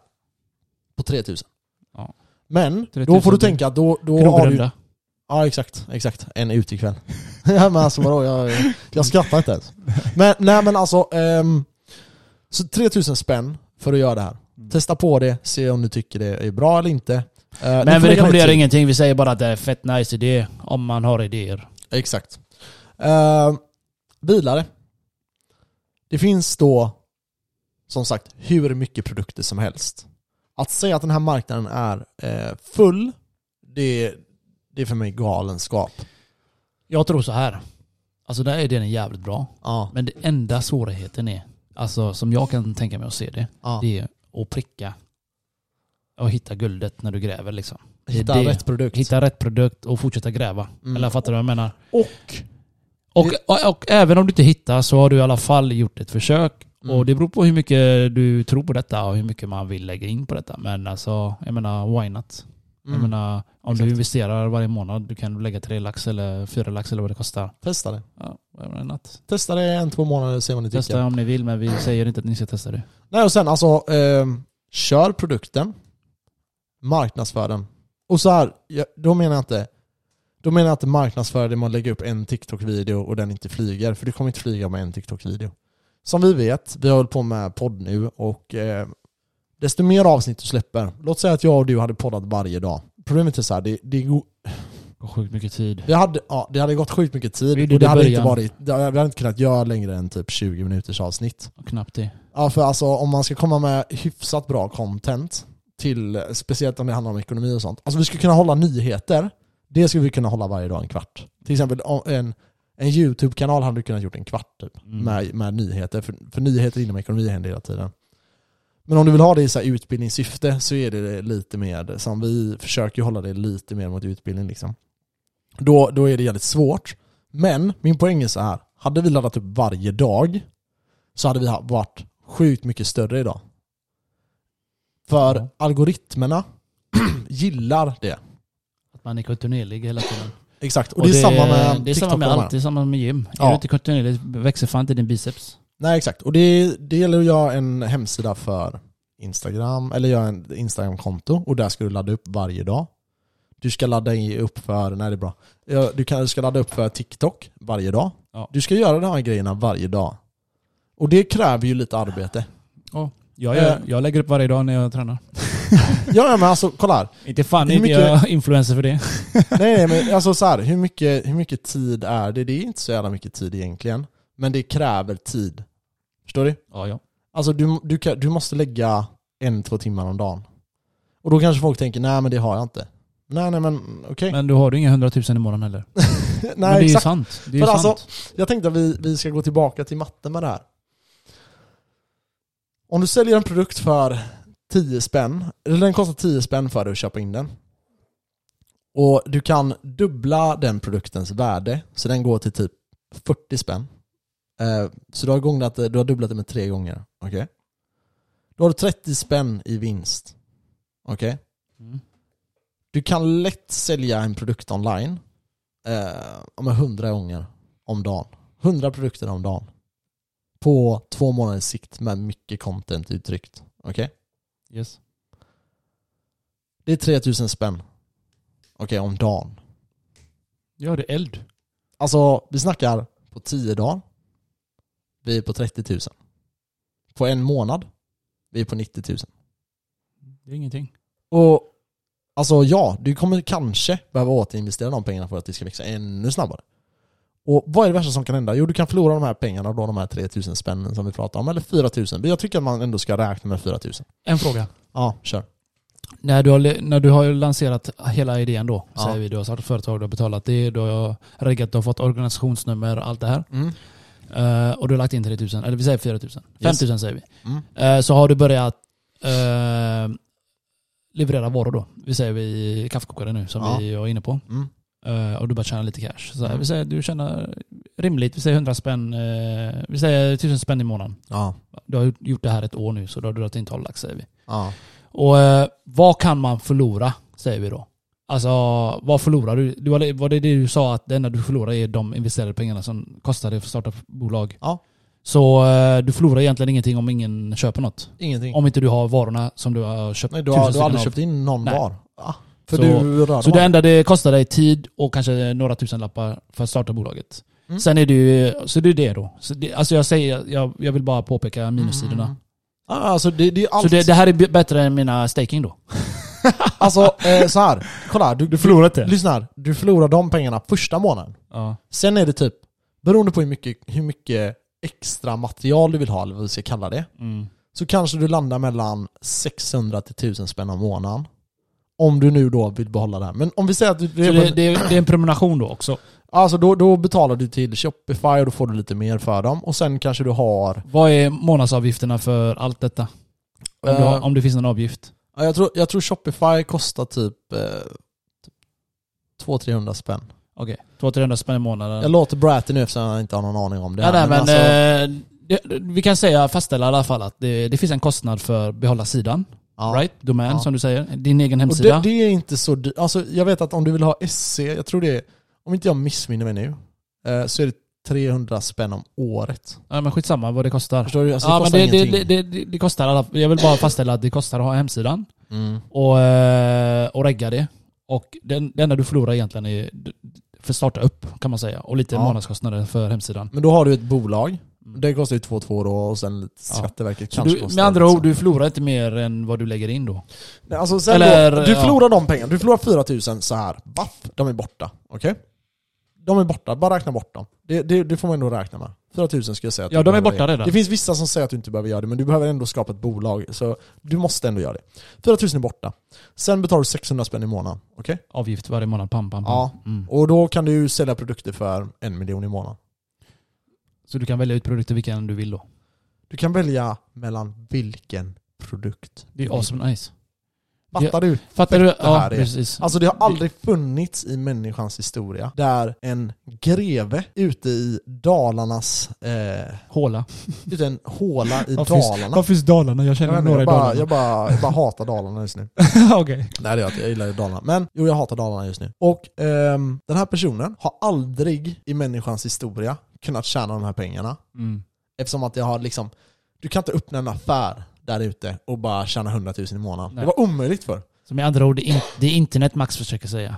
Speaker 1: på 3000.
Speaker 2: Ja.
Speaker 1: Men
Speaker 2: 3000
Speaker 1: då får du
Speaker 2: blir
Speaker 1: tänka att då, då har du...
Speaker 2: Krogrunda.
Speaker 1: Ja exakt, exakt. En utekväll. ja, men alltså vadå, jag, jag skrattar inte ens. Men, nej men alltså, ehm, så 3000 spänn för att göra det här.
Speaker 2: Mm.
Speaker 1: Testa på det, se om du tycker det är bra eller inte. Eh, du får
Speaker 2: Men vi
Speaker 1: lägga ner
Speaker 2: rekommenderar
Speaker 1: tid.
Speaker 2: ingenting. Vi säger bara att det är fett nice idé om man har idéer.
Speaker 1: Exakt. Eh, bilare. Det finns då, som sagt, hur mycket produkter som helst. Att säga att den här marknaden är eh, full, det, det är för mig galenskap.
Speaker 2: Jag tror så här. Alltså den här idén är jävligt bra.
Speaker 1: Ja,
Speaker 2: Men det enda svårigheten är, alltså som jag kan tänka mig att se det,
Speaker 1: ja.
Speaker 2: det är att pricka och hitta guldet när du gräver liksom. det är
Speaker 1: Hitta
Speaker 2: det.
Speaker 1: rätt produkt.
Speaker 2: Hitta rätt produkt och fortsätta gräva.
Speaker 1: Mm.
Speaker 2: Eller fattar du vad jag menar?
Speaker 1: Och,
Speaker 2: Och, och, och även om du inte hittar så har du i alla fall gjort ett försök.
Speaker 1: Mm.
Speaker 2: Och det beror på hur mycket du tror på detta och hur mycket man vill lägga in på detta. Men alltså, jag menar why not? Jag
Speaker 1: mm,
Speaker 2: menar, om
Speaker 1: Exakt.
Speaker 2: du investerar varje månad, du kan lägga tre lax eller fyra lax eller vad det kostar.
Speaker 1: testa det.
Speaker 2: Ja, why not?
Speaker 1: Testa det en, två månader och se vad ni tycker.
Speaker 2: Testa om ni vill, men vi säger inte att ni ska testa det.
Speaker 1: Nej, och sen alltså, ehm, kör produkten, marknadsför den. Och så här, ja, då menar jag inte då menar jag inte marknadsföra det med att lägga upp en TikTok-video och den inte flyger, för du kommer inte flyga med en TikTok-video. Som vi vet, vi har hållit på med podd nu och eh, desto mer avsnitt du släpper, låt säga att jag och du hade poddat varje dag. Problemet är så här, det, det, go-
Speaker 2: Sjukt mycket tid.
Speaker 1: det, hade, ja, det hade gått sjukt mycket tid
Speaker 2: Vi
Speaker 1: och
Speaker 2: gjorde
Speaker 1: det
Speaker 2: det i
Speaker 1: hade, inte
Speaker 2: början.
Speaker 1: varit, det hade, vi hade inte kunnat göra längre än typ 20 minuters avsnitt.
Speaker 2: Knappt det.
Speaker 1: Ja, för alltså om man ska komma med hyfsat bra content till, speciellt om det handlar om ekonomi och sånt. Alltså vi skulle kunna hålla nyheter. Det skulle vi kunna hålla varje dag en kvart. Till exempel om en, en YouTube-kanal hade du kunnat gjort en kvart typ,
Speaker 2: Mm.
Speaker 1: med, med nyheter. För, för nyheter inom ekonomi händer hela tiden. Men om du vill ha det i så här utbildningssyfte så är det lite mer, som vi försöker ju hålla det lite mer mot utbildning liksom. Då, då är det jävligt svårt. Men min poäng är så här, hade vi laddat upp varje dag så hade vi ha- varit sjukt mycket större idag. För
Speaker 2: Ja.
Speaker 1: algoritmerna gillar det.
Speaker 2: Att man är kontinuerlig hela tiden.
Speaker 1: Exakt, och, det, är samma med
Speaker 2: Det är samma med
Speaker 1: TikTok-filmerna.
Speaker 2: allt. Det är samma med gym.
Speaker 1: Ja.
Speaker 2: Är du inte kontinuerlig växer fan inte din biceps.
Speaker 1: Nej exakt, och det, det gäller att göra en hemsida för Instagram, eller göra en Instagram-konto och där ska du ladda upp varje dag. Du ska ladda i- upp för, nej det är bra, Ja, du, kan, du ska ladda upp för TikTok varje dag.
Speaker 2: Ja.
Speaker 1: Du ska göra de här grejerna varje dag. Och det kräver ju lite arbete.
Speaker 2: Jag,
Speaker 1: gör-
Speaker 2: jag lägger upp varje dag när jag tränar.
Speaker 1: Ja ja, men alltså kolla här,
Speaker 2: Inte fan
Speaker 1: Hur
Speaker 2: är
Speaker 1: mycket-
Speaker 2: jag influencer för det.
Speaker 1: nej, nej men alltså så här, hur mycket, hur mycket tid är det? Det är inte så jävla mycket tid egentligen, men det kräver tid. Förstår du?
Speaker 2: Ja, ja.
Speaker 1: Alltså du, du, kan- du måste lägga en, två timmar om dagen. Och då kanske folk tänker, nej men det har jag inte. Nej, nej men okej.
Speaker 2: Men då har du inga hundratusen i månaden heller. Men det är
Speaker 1: Nej
Speaker 2: ju
Speaker 1: exakt.
Speaker 2: sant. Det är ju
Speaker 1: Men
Speaker 2: sant.
Speaker 1: alltså- Jag tänkte att vi, vi ska gå tillbaka till matten med det här. Om du säljer en produkt för 10 spänn, eller den kostar 10 spänn för dig att köpa in den. Och du kan dubbla den produktens värde, så den går till typ 40 spänn. Eh, så du har, gånglat, det- du har dubblat det med tre gånger. Okej? Då har du 30 spänn i vinst. Okej?
Speaker 2: Mm.
Speaker 1: Du kan lätt sälja en produkt online eh, med 100 gånger om dagen. 100 produkter om dagen. På två månaders sikt med mycket content uttryckt. Okej?
Speaker 2: Yes.
Speaker 1: Det är 3000 spänn. Okej, om dagen.
Speaker 2: Ja, det är eld.
Speaker 1: Alltså, vi snackar på 10 dagar. Vi är på 30 000. På en månad Vi är på 90 000.
Speaker 2: Det är ingenting.
Speaker 1: Och alltså ja, du kommer kanske behöva återinvestera de pengarna för att det ska växa ännu snabbare. Och vad är det värsta som kan hända? Jo, du kan förlora de här pengarna då, de här 3000 spännen som vi pratade om, eller 4000. Men jag tycker att man ändå ska räkna med 4000.
Speaker 2: En fråga.
Speaker 1: Ja, kör.
Speaker 2: När du, har, le- när du har lanserat hela idén då,
Speaker 1: Ja.
Speaker 2: säger vi, du har startat företag, du har betalat det, du har reggat, du har fått organisationsnummer, allt det här.
Speaker 1: Mm.
Speaker 2: Eh, och du har lagt in 3000, eller vi säger 4000.
Speaker 1: Yes.
Speaker 2: 5000 säger vi.
Speaker 1: Mm.
Speaker 2: Eh, så har du börjat eh, leverera varor då. Vi säger vi kaffekokare nu som
Speaker 1: Ja.
Speaker 2: vi var inne på.
Speaker 1: Mm.
Speaker 2: Eh, och du börjar tjäna lite cash. Så här,
Speaker 1: Mm.
Speaker 2: vi säger du tjänar rimligt, vi säger 100 spänn, eh, vi säger 1000 spänn i månaden.
Speaker 1: Ja.
Speaker 2: Du har gjort- gjort det här ett år nu så då har du dragit in 12 lax säger vi.
Speaker 1: ja.
Speaker 2: Och eh, vad kan man förlora, säger vi då. Alltså vad förlorar du? du var det, var det det du sa att det enda du förlorar är de investerade pengarna som kostar dig för att starta bolag?
Speaker 1: Ja.
Speaker 2: Så eh, du förlorar egentligen ingenting om ingen köper något?
Speaker 1: Ingenting.
Speaker 2: Om inte du har varorna som du har köpt
Speaker 1: Nej, du har, du
Speaker 2: tusen
Speaker 1: har aldrig
Speaker 2: stycken av.
Speaker 1: köpt in någon
Speaker 2: Nej.
Speaker 1: var. Ja. För
Speaker 2: Så-
Speaker 1: du rör
Speaker 2: Så
Speaker 1: dem
Speaker 2: det enda det kostar dig tid och kanske några tusen lappar för att starta bolaget.
Speaker 1: Mm.
Speaker 2: Sen är det ju, så det är det då. Så det, alltså jag säger, jag, jag vill bara påpeka minussidorna.
Speaker 1: Mm. Ja, alltså det, det är allt.
Speaker 2: Så det, det här är b- bättre än mina staking då.
Speaker 1: Alltså eh, så här. kolla. Du, du
Speaker 2: förlorar inte?
Speaker 1: lyssna här. Du förlorar de pengarna första månaden.
Speaker 2: Ja.
Speaker 1: Sen är det typ, beroende på hur mycket, hur mycket extra material du vill ha, eller vad vi ska kalla det,
Speaker 2: Mm.
Speaker 1: så kanske du landar mellan 600 till 1000 spänn om månaden. Om du nu då vill behålla det här. Men om vi säger att du...
Speaker 2: Så det, det, är- det är en prenumeration då också.
Speaker 1: Alltså då, då betalar du till Shopify och då får du lite mer för dem. Och sen kanske du har...
Speaker 2: Vad är månadsavgifterna för allt detta? Om, du har,
Speaker 1: Eh,
Speaker 2: om det finns någon avgift?
Speaker 1: Ja, jag, tror, jag tror Shopify kostar typ... Eh, typ 200-300 spänn.
Speaker 2: Okej, 200-300 spänn i månaden.
Speaker 1: Jag låter Bratty nu eftersom han inte har någon aning om det
Speaker 2: ja,
Speaker 1: här,
Speaker 2: nej, men,
Speaker 1: alltså-
Speaker 2: eh, det, vi kan säga, fastställa i alla fall att det, det finns en kostnad för att behålla sidan.
Speaker 1: ja.
Speaker 2: Right? Domän
Speaker 1: Ja.
Speaker 2: som du säger. Din egen
Speaker 1: Och
Speaker 2: hemsida.
Speaker 1: det, det är inte så dy- Alltså jag vet att om du vill ha SC, jag tror det är, om inte jag missminner mig nu, eh, så är det 300 spänn om året.
Speaker 2: Ja, men skitsamma vad det kostar.
Speaker 1: Förstår du? Alltså, det
Speaker 2: ja, men
Speaker 1: kostar
Speaker 2: det, det,
Speaker 1: ingenting.
Speaker 2: det, det, det, det kostar alla, Jag vill bara fastställa att det kostar att ha hemsidan
Speaker 1: Mm.
Speaker 2: och, eh, och regga det. Och den, det enda du förlorar egentligen är d- för att starta upp kan man säga. Och lite
Speaker 1: Ja.
Speaker 2: månadskostnader för hemsidan.
Speaker 1: Men då har du ett bolag.
Speaker 2: Mm.
Speaker 1: Det kostar ju 2-2 då och sen lite
Speaker 2: Ja.
Speaker 1: Skatteverket
Speaker 2: Så
Speaker 1: kanske
Speaker 2: du,
Speaker 1: kostar
Speaker 2: med andra
Speaker 1: liksom.
Speaker 2: ord, du förlorar inte mer än vad du lägger in då.
Speaker 1: Nej, Alltså, sen
Speaker 2: Eller,
Speaker 1: då, du
Speaker 2: ja.
Speaker 1: förlorar de pengarna. Du förlorar 4000 så här. Baff, de är borta. Okej? De är borta. Bara räkna bort dem. Det, det, det får man ändå räkna med. 4000 skulle jag säga att
Speaker 2: Ja,
Speaker 1: du
Speaker 2: de är
Speaker 1: behöver
Speaker 2: borta
Speaker 1: det.
Speaker 2: redan.
Speaker 1: Det finns vissa som säger att du inte behöver göra det, men du behöver ändå skapa ett bolag. Så du måste ändå göra det. 4000 är borta. Sen betalar du 600 spänn i månaden. Okej?
Speaker 2: Avgift varje månad, pam, pam, pam.
Speaker 1: Ja.
Speaker 2: Mm.
Speaker 1: Och då kan du sälja produkter för en miljon i månaden.
Speaker 2: Så du kan välja ut produkter vilken du vill då.
Speaker 1: Du kan välja mellan vilken produkt
Speaker 2: Det
Speaker 1: du
Speaker 2: är
Speaker 1: vill.
Speaker 2: awesome nice.
Speaker 1: Fattar du?
Speaker 2: Fattar du?
Speaker 1: Perfekt Mm. det
Speaker 2: Ja,
Speaker 1: här är.
Speaker 2: precis.
Speaker 1: Alltså det har aldrig funnits i människans historia där en greve ute i Dalarnas, eh,
Speaker 2: Håla.
Speaker 1: ute i en håla i
Speaker 3: Varför finns-
Speaker 1: Dalarna.
Speaker 3: Var finns Dalarna? Jag
Speaker 1: Jag,
Speaker 3: känner
Speaker 1: vet inte,
Speaker 3: några
Speaker 1: jag,
Speaker 3: i
Speaker 1: bara,
Speaker 3: Dalarna.
Speaker 1: jag, bara, jag bara hatar Dalarna just nu.
Speaker 3: Okej.
Speaker 1: Nej det gör jag inte, jag gillar ju Dalarna. Men jo, jag hatar Dalarna just nu. Och ehm, den här personen har aldrig i människans historia kunnat tjäna de här pengarna.
Speaker 2: Mm.
Speaker 1: Eftersom att jag har liksom, du kan inte öppna en affär där ute och bara tjäna 100 000 i månaden.
Speaker 2: Nej.
Speaker 1: Det var omöjligt för.
Speaker 2: Så med andra ord, det är in- det är internet Max försöker säga.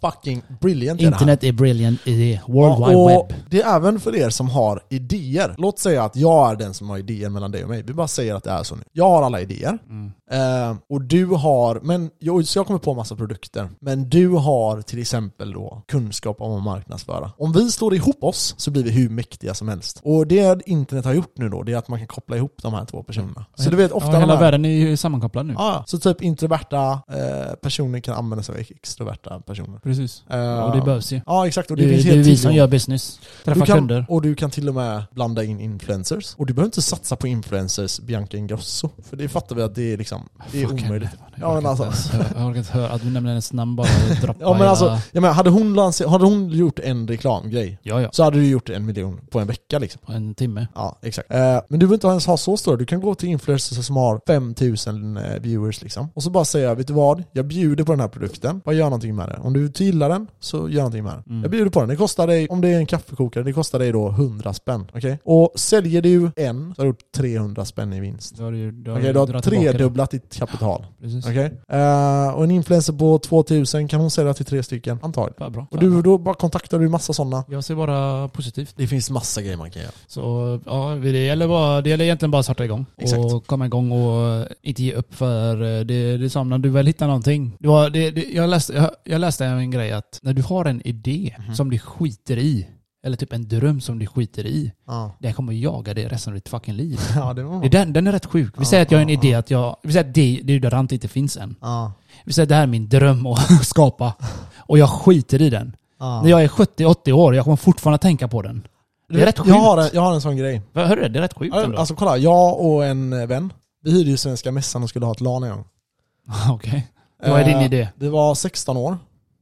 Speaker 1: Fucking brilliant är det här.
Speaker 2: Internet är brilliant idé. World
Speaker 1: Ja,
Speaker 2: Wide
Speaker 1: och
Speaker 2: Web.
Speaker 1: Det är även för er som har idéer. Låt säga att jag är den som har idéer mellan dig och mig. Vi bara säger att det är så nu. Jag har alla idéer.
Speaker 2: Mm.
Speaker 1: Eh, och du har, men jag, så jag kommer på massa produkter. Men du har till exempel då kunskap om att marknadsföra. Om vi slår ihop oss så blir vi hur mäktiga som helst. Och det internet har gjort nu då, det är att man kan koppla ihop de här två personerna. Så du vet ofta
Speaker 2: ja,
Speaker 1: de
Speaker 2: hela
Speaker 1: här,
Speaker 2: världen är ju sammankopplad nu.
Speaker 1: Ja, ja. så typ introverta eh, personer kan använda sig av extroverta personer.
Speaker 3: Precis.
Speaker 1: Eh,
Speaker 2: Och det behövs ju.
Speaker 1: Ja exakt, och
Speaker 2: Det,
Speaker 1: det,
Speaker 2: det,
Speaker 1: finns
Speaker 2: är
Speaker 1: helt
Speaker 2: vi
Speaker 1: tydligt-
Speaker 2: som gör business.
Speaker 1: du
Speaker 2: Träffar
Speaker 1: kan,
Speaker 2: kunder.
Speaker 1: Och du kan till och med blanda in influencers. Och du behöver inte satsa på influencers Bianca Ingrosso. För det fattar vi att det är liksom, det är
Speaker 2: Fuck henne.
Speaker 1: omöjligt.
Speaker 2: Jag orkar
Speaker 1: men alltså.
Speaker 2: inte ens hö- Jag orkar inte höra att du nämner hennes namn bara. droppa
Speaker 1: Ja men
Speaker 2: hela-
Speaker 1: alltså, jag menar, hade, hon lanser, hade hon gjort en reklamgrej
Speaker 2: Ja, ja.
Speaker 1: så hade du gjort en miljon på en vecka liksom.
Speaker 2: På en timme.
Speaker 1: Ja, exakt. Eh, men du behöver inte ens ha så stora. Du kan gå till influencers som har 5000 eh, viewers liksom. Och så bara säga, vet du vad? Jag bjuder på den här produkten. Vad gör någonting med det? Om du inte gillar den så gör någonting med den.
Speaker 2: Mm.
Speaker 1: Jag bjuder på den. Det kostar dig, om det är en kaffekokare, det kostar dig då 100 spänn. Okej? Och säljer du en så har du gjort 300 spänn i vinst.
Speaker 2: Då har du, ju- då har
Speaker 1: Okej,
Speaker 2: du
Speaker 1: du har
Speaker 2: dragit tillbaka det.
Speaker 1: tredubblat ditt kapital.
Speaker 2: Precis.
Speaker 1: Okej? Eh, och en influencer på 2000 kan hon sälja till tre stycken, antagligen.
Speaker 2: Fan, bra.
Speaker 1: Och du, då bara kontaktar du massa sådana.
Speaker 2: Jag ser bara positivt.
Speaker 1: Det finns massa grejer man kan göra.
Speaker 2: Så ja, det gäller, bara, det gäller egentligen bara att starta igång.
Speaker 1: Exakt.
Speaker 2: Och komma igång och eh, inte ge upp för eh, det, det är som när du väl hittar någonting. Det var, det, det, jag, läste, jag, jag läste en grej att när du har en idé
Speaker 1: Mhm.
Speaker 2: som du skiter i, eller typ en dröm som du skiter i,
Speaker 1: Ja,
Speaker 2: den kommer jaga dig resten av ditt fucking liv.
Speaker 1: ja det var
Speaker 2: Det är den, den är rätt sjuk. Vi
Speaker 1: Ja,
Speaker 2: säger att jag har en
Speaker 1: ja,
Speaker 2: idé
Speaker 1: ja.
Speaker 2: att jag... Vi säger att det, det är ju där Rant inte finns än.
Speaker 1: Ja.
Speaker 2: Vi säger att det här är min dröm att skapa. Och jag skiter i den.
Speaker 1: Ja.
Speaker 2: När jag är 70-80 år, jag kommer fortfarande tänka på den. Det är rätt sjukt.
Speaker 1: jag, har en, jag har en sån grej.
Speaker 2: Hörru det? Det är rätt sjukt ändå.
Speaker 1: Alltså kolla, jag och en eh, vän, vi hyrde ju Svenska Mässan och skulle ha ett LAN en gång.
Speaker 2: Okej. Vad är din
Speaker 1: Eh,
Speaker 2: idé?
Speaker 1: Vi var 16 år.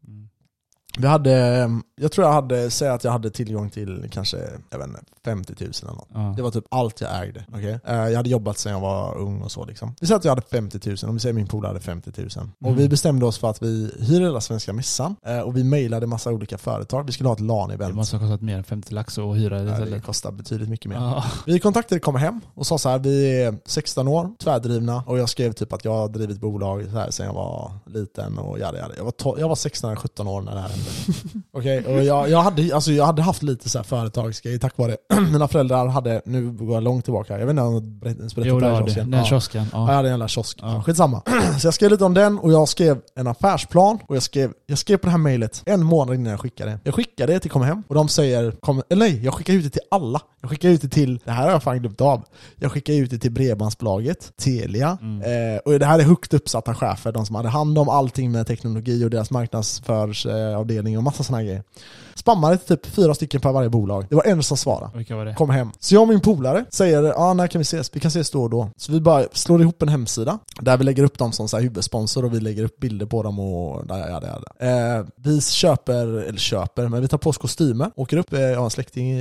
Speaker 2: Mm.
Speaker 1: Vi hade, eh, jag tror jag hade, säg att jag hade tillgång till kanske, jag vet inte, 50 000 eller något.
Speaker 2: Ja.
Speaker 1: Det var typ allt jag ägde. okej? Eh, Jag hade jobbat sedan jag var ung och så liksom. Vi säger att jag hade 50 000, om vi säger min polare hade 50 000.
Speaker 2: Mm.
Speaker 1: Och vi bestämde oss för att vi hyr hela Svenska Mässan eh, och vi mejlade massa olika företag. Vi skulle ha ett
Speaker 2: Det
Speaker 1: LAN-event.
Speaker 2: måste ha kostat mer än 50 lax att hyra det
Speaker 1: Eh, Det
Speaker 2: istället.
Speaker 1: kostar betydligt mycket mer.
Speaker 2: Ja.
Speaker 1: Vi kontaktade kom hem och sa så här, vi är 16 år, tvärdrivna och jag skrev typ att jag har drivit bolag så här sen jag var liten och jada jada. Jag var, to- jag var 16 eller 17 år när det här hände. Okej, och jag, jag, hade, alltså, jag hade haft lite så här företagsgrejer tack vare mina föräldrar hade, nu går jag långt tillbaka, jag vet inte om jag berätt- berättade
Speaker 2: Jo, det
Speaker 1: här
Speaker 2: har du.
Speaker 1: kiosken.
Speaker 2: Den
Speaker 1: Ja.
Speaker 2: kiosken.
Speaker 1: Ja, jag
Speaker 2: Ja.
Speaker 1: hade en jävla kiosk.
Speaker 2: Ja.
Speaker 1: Skitsamma. Så jag skrev lite om den och jag skrev en affärsplan och jag skrev, jag skrev på det här mejlet en månad innan jag skickade. det. Jag skickade det till kom hem och de säger, kom, eller nej, jag skickar ut det till alla. Jag skickar ut det till, det här har jag fan glömt av. Jag skickar ut det till Bredbandsbolaget, Telia eh, och det här är högt uppsatta chefer, de som hade hand om allting med teknologi och deras marknadsförsavdelning och massa sådana grejer. Spammade till typ fyra stycken på varje bolag. Det var en som svarade
Speaker 2: Vilka var det?
Speaker 1: kom hem. Så jag och min polare säger, ja när kan vi ses? Vi kan ses då och då. Så vi bara slår ihop en hemsida där vi lägger upp dem som så här huvudsponsor och vi lägger upp bilder på dem och där, ja, där, där. Eh, vi köper, eller köper, men vi tar på oss kostymer, åker upp, eh, jag har en släkting i,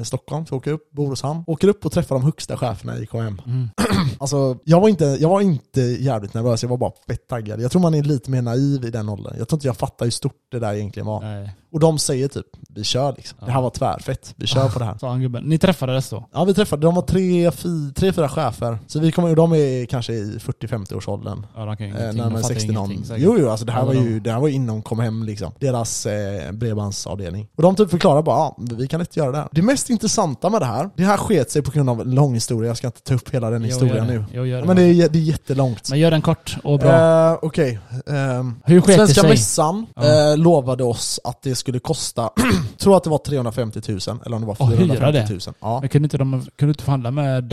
Speaker 1: i Stockholm, så åker upp, bor hos han, åker upp och träffar de högsta cheferna i KM.
Speaker 2: Mm.
Speaker 1: Alltså, jag var, inte, jag var inte jävligt nervös, jag var bara fett taggad. Jag tror man är lite mer naiv i den åldern. Jag tror inte jag fattar hur stort det där egentligen var.
Speaker 2: Nej.
Speaker 1: Och de säger typ, vi kör liksom. Det här var tvärfett, vi kör på det här.
Speaker 2: Sa han gubben. Ni träffades då?
Speaker 1: Ja vi träffade, de var tre, fy, tre fyra chefer. Så vi kommer, de är kanske i 40-50-årsåldern.
Speaker 2: Ja, de kan ju
Speaker 1: Eh,
Speaker 2: ingenting. De
Speaker 1: närmare
Speaker 2: fattar
Speaker 1: 60 någon.
Speaker 2: ingenting. säkert.
Speaker 1: Jo, jo alltså det här, var
Speaker 2: Alla
Speaker 1: ju,
Speaker 2: de-
Speaker 1: det här var ju innan kom hem liksom. Deras eh, bredbandsavdelning. Och de typ förklarar bara, ja, vi kan inte göra det här. Det mest intressanta med det här, det här sket sig på grund av en lång historia, jag ska inte ta upp hela den
Speaker 2: Jo,
Speaker 1: historien
Speaker 2: gör det.
Speaker 1: nu.
Speaker 2: Jo, gör det.
Speaker 1: Men det är, det är jättelångt.
Speaker 2: Men gör den kort och bra.
Speaker 1: Eh, Okej. ehm,
Speaker 2: Hur sket det
Speaker 1: Svenska
Speaker 2: sig?
Speaker 1: Mässan
Speaker 2: Ja.
Speaker 1: eh, lovade oss att det skulle kosta, tror att det var 350 000 eller om det var
Speaker 2: Och hyra
Speaker 1: 450
Speaker 2: det?
Speaker 1: 000. Ja.
Speaker 2: Men kunde inte de kunde inte förhandla med,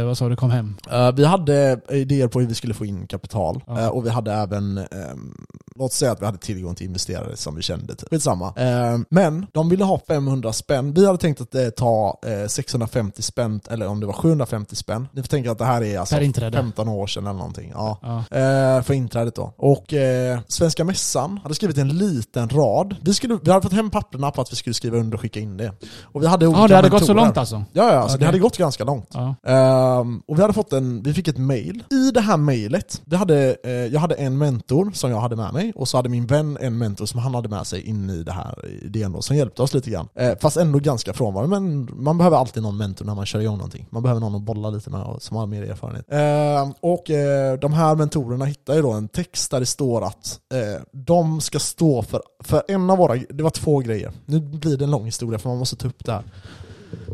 Speaker 2: eh, vad sa du, kom hem?
Speaker 1: Eh, vi hade idéer på hur vi skulle få in kapital
Speaker 2: Ja.
Speaker 1: Eh, och vi hade även, ehm, låt säga att vi hade tillgång till investerare som vi kände till. Skitsamma. Eh, men de ville ha 500 spänn. Vi hade tänkt att eh, ta eh, 650 spänn, eller om det var 750 spänn. Ni får tänka att det här är alltså
Speaker 2: Per inträde.
Speaker 1: 15 år sedan eller någonting. Ja.
Speaker 2: Ja.
Speaker 1: Eh, för inträdet då. Och eh, Svenska Mässan hade skrivit en liten rad. Vi, skulle, vi hade fått hem papperna på att vi skulle skriva under och skicka in det. Och vi hade olika
Speaker 2: Ja, det hade gått så
Speaker 1: mentorer.
Speaker 2: långt alltså?
Speaker 1: Ja, ja alltså det
Speaker 2: Okej.
Speaker 1: hade gått ganska långt.
Speaker 2: Ja.
Speaker 1: Ehm, och vi hade fått en, vi fick ett mail. I det här mailet, vi hade, eh, jag hade en mentor som jag hade med mig och så hade min vän en mentor som han hade med sig in i det här idén då, som hjälpte oss lite grann. Eh, fast ändå ganska frånvarande, men man behöver alltid någon mentor när man kör igång någonting. Man behöver någon att bolla lite med och som har mer erfarenhet. Ehm, och eh, de här mentorerna hittar ju då en text där det står att eh, de ska stå för, för en av våra, det var två grejer. Nu blir det en lång historia för man måste ta upp det här.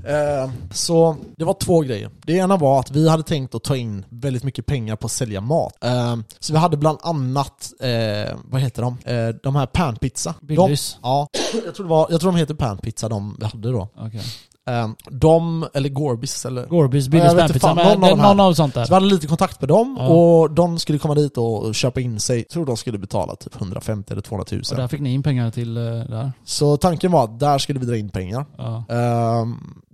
Speaker 1: Eh, Så det var två grejer. Det ena var att vi hade tänkt att ta in väldigt mycket pengar på att sälja mat. Eh, Så vi hade bland annat, eh, vad heter de? Eh, De här panpizza. De,
Speaker 2: Billys?
Speaker 1: ja, jag tror, det var, jag tror de heter panpizza de vi hade då.
Speaker 2: Okej.
Speaker 1: Eh, De, eller Gorbis eller...
Speaker 2: Gorbys,
Speaker 1: Ja,
Speaker 2: Billys,
Speaker 1: jag vet inte
Speaker 2: Värmpizzan,
Speaker 1: fan,
Speaker 2: någon,
Speaker 1: någon av de här.
Speaker 2: någon av sånt där.
Speaker 1: Så vi hade lite kontakt med dem
Speaker 2: Ja.
Speaker 1: och de skulle komma dit och köpa in sig. Jag tror de skulle betala typ 150 eller 200 000.
Speaker 2: Och där fick ni in pengar till eh, där.
Speaker 1: Så tanken var att där skulle vi dra in pengar.
Speaker 2: Ja.
Speaker 1: Eh,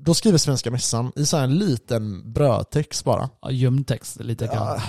Speaker 1: Då skriver Svenska Mässan i så här en liten brödtext bara.
Speaker 2: Ja, Gömd text lite kan.
Speaker 1: Ja,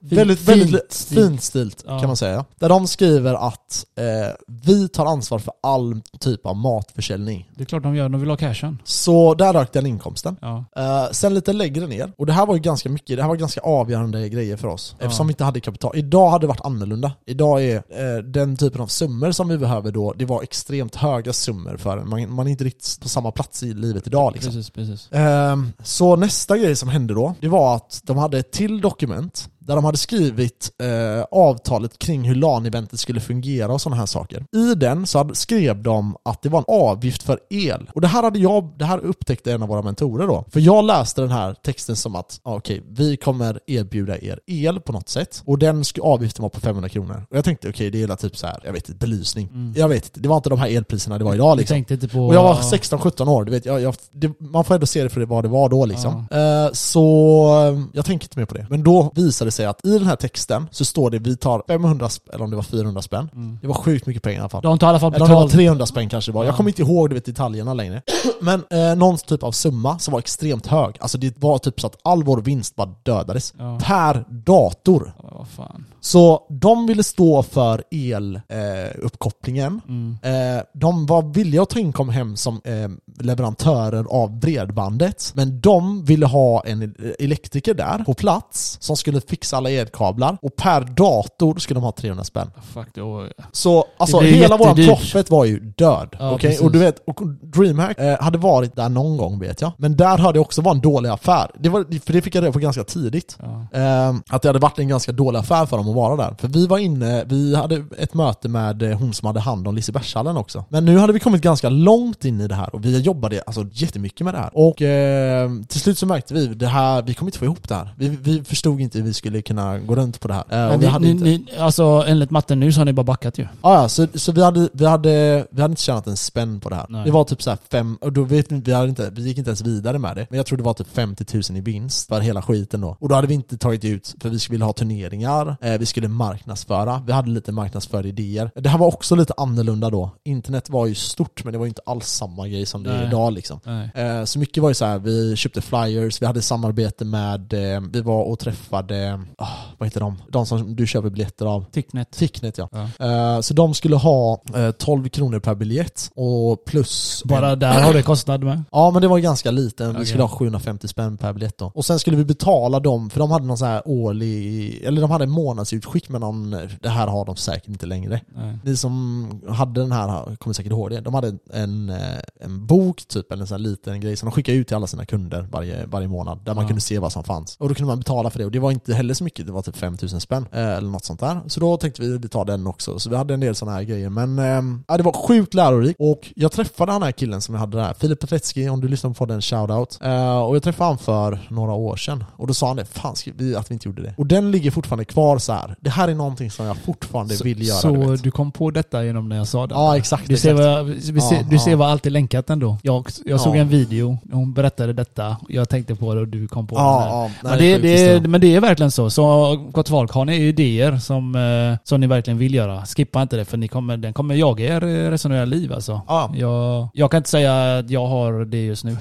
Speaker 1: Väldigt,
Speaker 2: fint
Speaker 1: väldigt li-
Speaker 2: stil.
Speaker 1: fint stilt
Speaker 2: Ja.
Speaker 1: kan man säga. Där de skriver att eh, vi tar ansvar för all typ av matförsäljning.
Speaker 2: Det är klart de gör, de vill ha cashen.
Speaker 1: Så där rök den inkomsten.
Speaker 2: Ja.
Speaker 1: Eh, sen lite längre ner, och det här var ju ganska mycket, det här var ganska avgörande grejer för oss.
Speaker 2: Ja.
Speaker 1: Eftersom vi inte hade kapital. Idag hade det varit annorlunda. Idag är eh, den typen av summor som vi behöver då, det var extremt höga summor för en. man, man är inte riktigt på samma plats i livet idag liksom.
Speaker 2: Precis, precis.
Speaker 1: Ehm, Så nästa grej som hände då, det var att de hade ett till dokument där de hade skrivit eh, avtalet kring hur LAN-eventet skulle fungera och sådana här saker. I den så hade, skrev de att det var en avgift för el. Och det här, hade jag, det här upptäckte en av våra mentorer då. För jag läste den här texten som att ja, okej, vi kommer erbjuda er el på något sätt. Och den sk- avgiften var på 500 kronor. Och jag tänkte okej, det är hela typ så här, jag vet inte, belysning. Jag vet inte, det var inte de här elpriserna det var idag
Speaker 2: Jag
Speaker 1: liksom.
Speaker 2: tänkte inte på...
Speaker 1: Och jag var 16-17 år, du vet, jag, jag, det, man får ändå se det för det vad det var då liksom. Eh, så eh, jag tänker inte mer på det. Men då visade det sig att i den här texten så står det vi tar 500 sp- eller om det var 400 spänn. Det var sjukt mycket pengar i alla fall.
Speaker 2: De tar i alla fall
Speaker 1: Eller om det var
Speaker 2: betalt.
Speaker 1: 300 spänn kanske det var. Jag kommer inte ihåg du vet, detaljerna längre. Men eh, någon typ av summa som var extremt hög. Alltså det var typ så att all vår vinst bara dödades.
Speaker 2: Ja.
Speaker 1: Per dator.
Speaker 2: Ja, Vad fan.
Speaker 1: Så de ville stå för eluppkopplingen. Eh, uppkopplingen. eh, de var villiga att ta in Comhem som eh, leverantörer av bredbandet, men de ville ha en el- elektriker där på plats som skulle fixa alla elkablar och per dator skulle de ha 300 spänn.
Speaker 2: Fuck det. och-
Speaker 1: Så alltså,
Speaker 2: blir
Speaker 1: hela vår
Speaker 2: jättedyrt.
Speaker 1: profit var ju död.
Speaker 2: Ja,
Speaker 1: okej?
Speaker 2: precis.
Speaker 1: Och du vet, och DreamHack eh, hade varit där någon gång vet jag, men där hörde jag också var en dålig affär. Det var, för det fick jag reda på ganska tidigt.
Speaker 2: Ja.
Speaker 1: Eh, att det hade varit en ganska dålig affär för dem att vara där. För vi var inne, vi hade ett möte med eh, hon som hade hand om Lisebergshallen också. Men nu hade vi kommit ganska långt in i det här och vi jobbade alltså jättemycket med det här. Och eh, till slut så märkte vi, det här, vi kommer inte få ihop det här. Vi, vi förstod inte hur vi skulle kunna gå runt på det här. Eh, och
Speaker 2: Men
Speaker 1: vi
Speaker 2: ni,
Speaker 1: hade
Speaker 2: ni,
Speaker 1: inte-
Speaker 2: ni, alltså enligt matten nu så har ni bara backat ju.
Speaker 1: Ah, ja, så, så vi, hade, vi, hade, vi hade inte tjänat en spänn på det här.
Speaker 2: Nej.
Speaker 1: Det var typ så här fem, och då vet vi, vi, hade inte, vi gick inte ens vidare med det. Men jag tror det var typ 50 000 i vinst för hela skiten då. Och då hade vi inte tagit ut, för vi skulle vilja ha turneringar, eh, vi skulle marknadsföra, vi hade lite marknadsföringidéer. Det här var också lite annorlunda då. Internet var ju stort men det var ju inte alls samma grej som det är
Speaker 2: Nej.
Speaker 1: idag liksom.
Speaker 2: Nej.
Speaker 1: Eh, Så mycket var ju så här, vi köpte flyers, vi hade samarbete med, eh, vi var och träffade, ah, vad heter de? De som du köper biljetter av.
Speaker 2: Ticknet.
Speaker 1: Ticknet ja. Eh, så de skulle ha eh, 12 kronor per biljett och plus...
Speaker 2: Bara där har det kostnad med.
Speaker 1: Ja men det var ganska liten, vi
Speaker 2: Okej.
Speaker 1: skulle ha 750 spänn per biljett då. Och sen skulle vi betala dem, för de hade någon så här årlig, eller de hade en månadsutskick med någon, det här har de säkert inte längre.
Speaker 2: Nej.
Speaker 1: Ni som hade den här kommer säkert ihåg det. De hade en, eh, en bok typ, eller en sån här liten grej som de skickade ut till alla sina kunder varje, varje månad. Där man
Speaker 2: Ja.
Speaker 1: kunde se vad som fanns. Och då kunde man betala för det. Och det var inte heller så mycket, det var typ 5000 spänn. eh, Eller något sånt där. Så då tänkte vi, vi tar den också. Så vi hade en del såna här grejer. Men ehm, ja, det var sjukt lärorikt. Och jag träffade den här killen som jag hade där. Filip Petretski, om du lyssnar på den, shoutout. Eh, Och jag träffade han för några år sedan. Och då sa han det, fan ska vi, att vi inte gjorde det. Och den ligger fortfarande kvar så här. Det här är någonting som jag fortfarande vill göra.
Speaker 2: så
Speaker 1: du vet.
Speaker 2: du, kom på detta genom när jag sa det?
Speaker 1: Ja exakt.
Speaker 2: Du ser,
Speaker 1: exakt.
Speaker 2: vad, vi ser,
Speaker 1: Ja,
Speaker 2: du ser
Speaker 1: ja.
Speaker 2: vad allt är länkat ändå. Jag, jag såg
Speaker 1: Ja.
Speaker 2: en video, hon berättade detta, jag tänkte på det och du kom på det. här.
Speaker 1: Ja, ja.
Speaker 2: Ja,
Speaker 1: Nej,
Speaker 2: det,
Speaker 1: sjukt
Speaker 2: det,
Speaker 1: historia.
Speaker 2: men det är verkligen så. Så gott folk, har ni idéer som, eh, som ni verkligen vill göra, skippa inte det för ni kommer, den kommer jaga er eh, resten av era liv alltså.
Speaker 1: Ja.
Speaker 2: Jag, jag kan inte säga att jag har det just nu.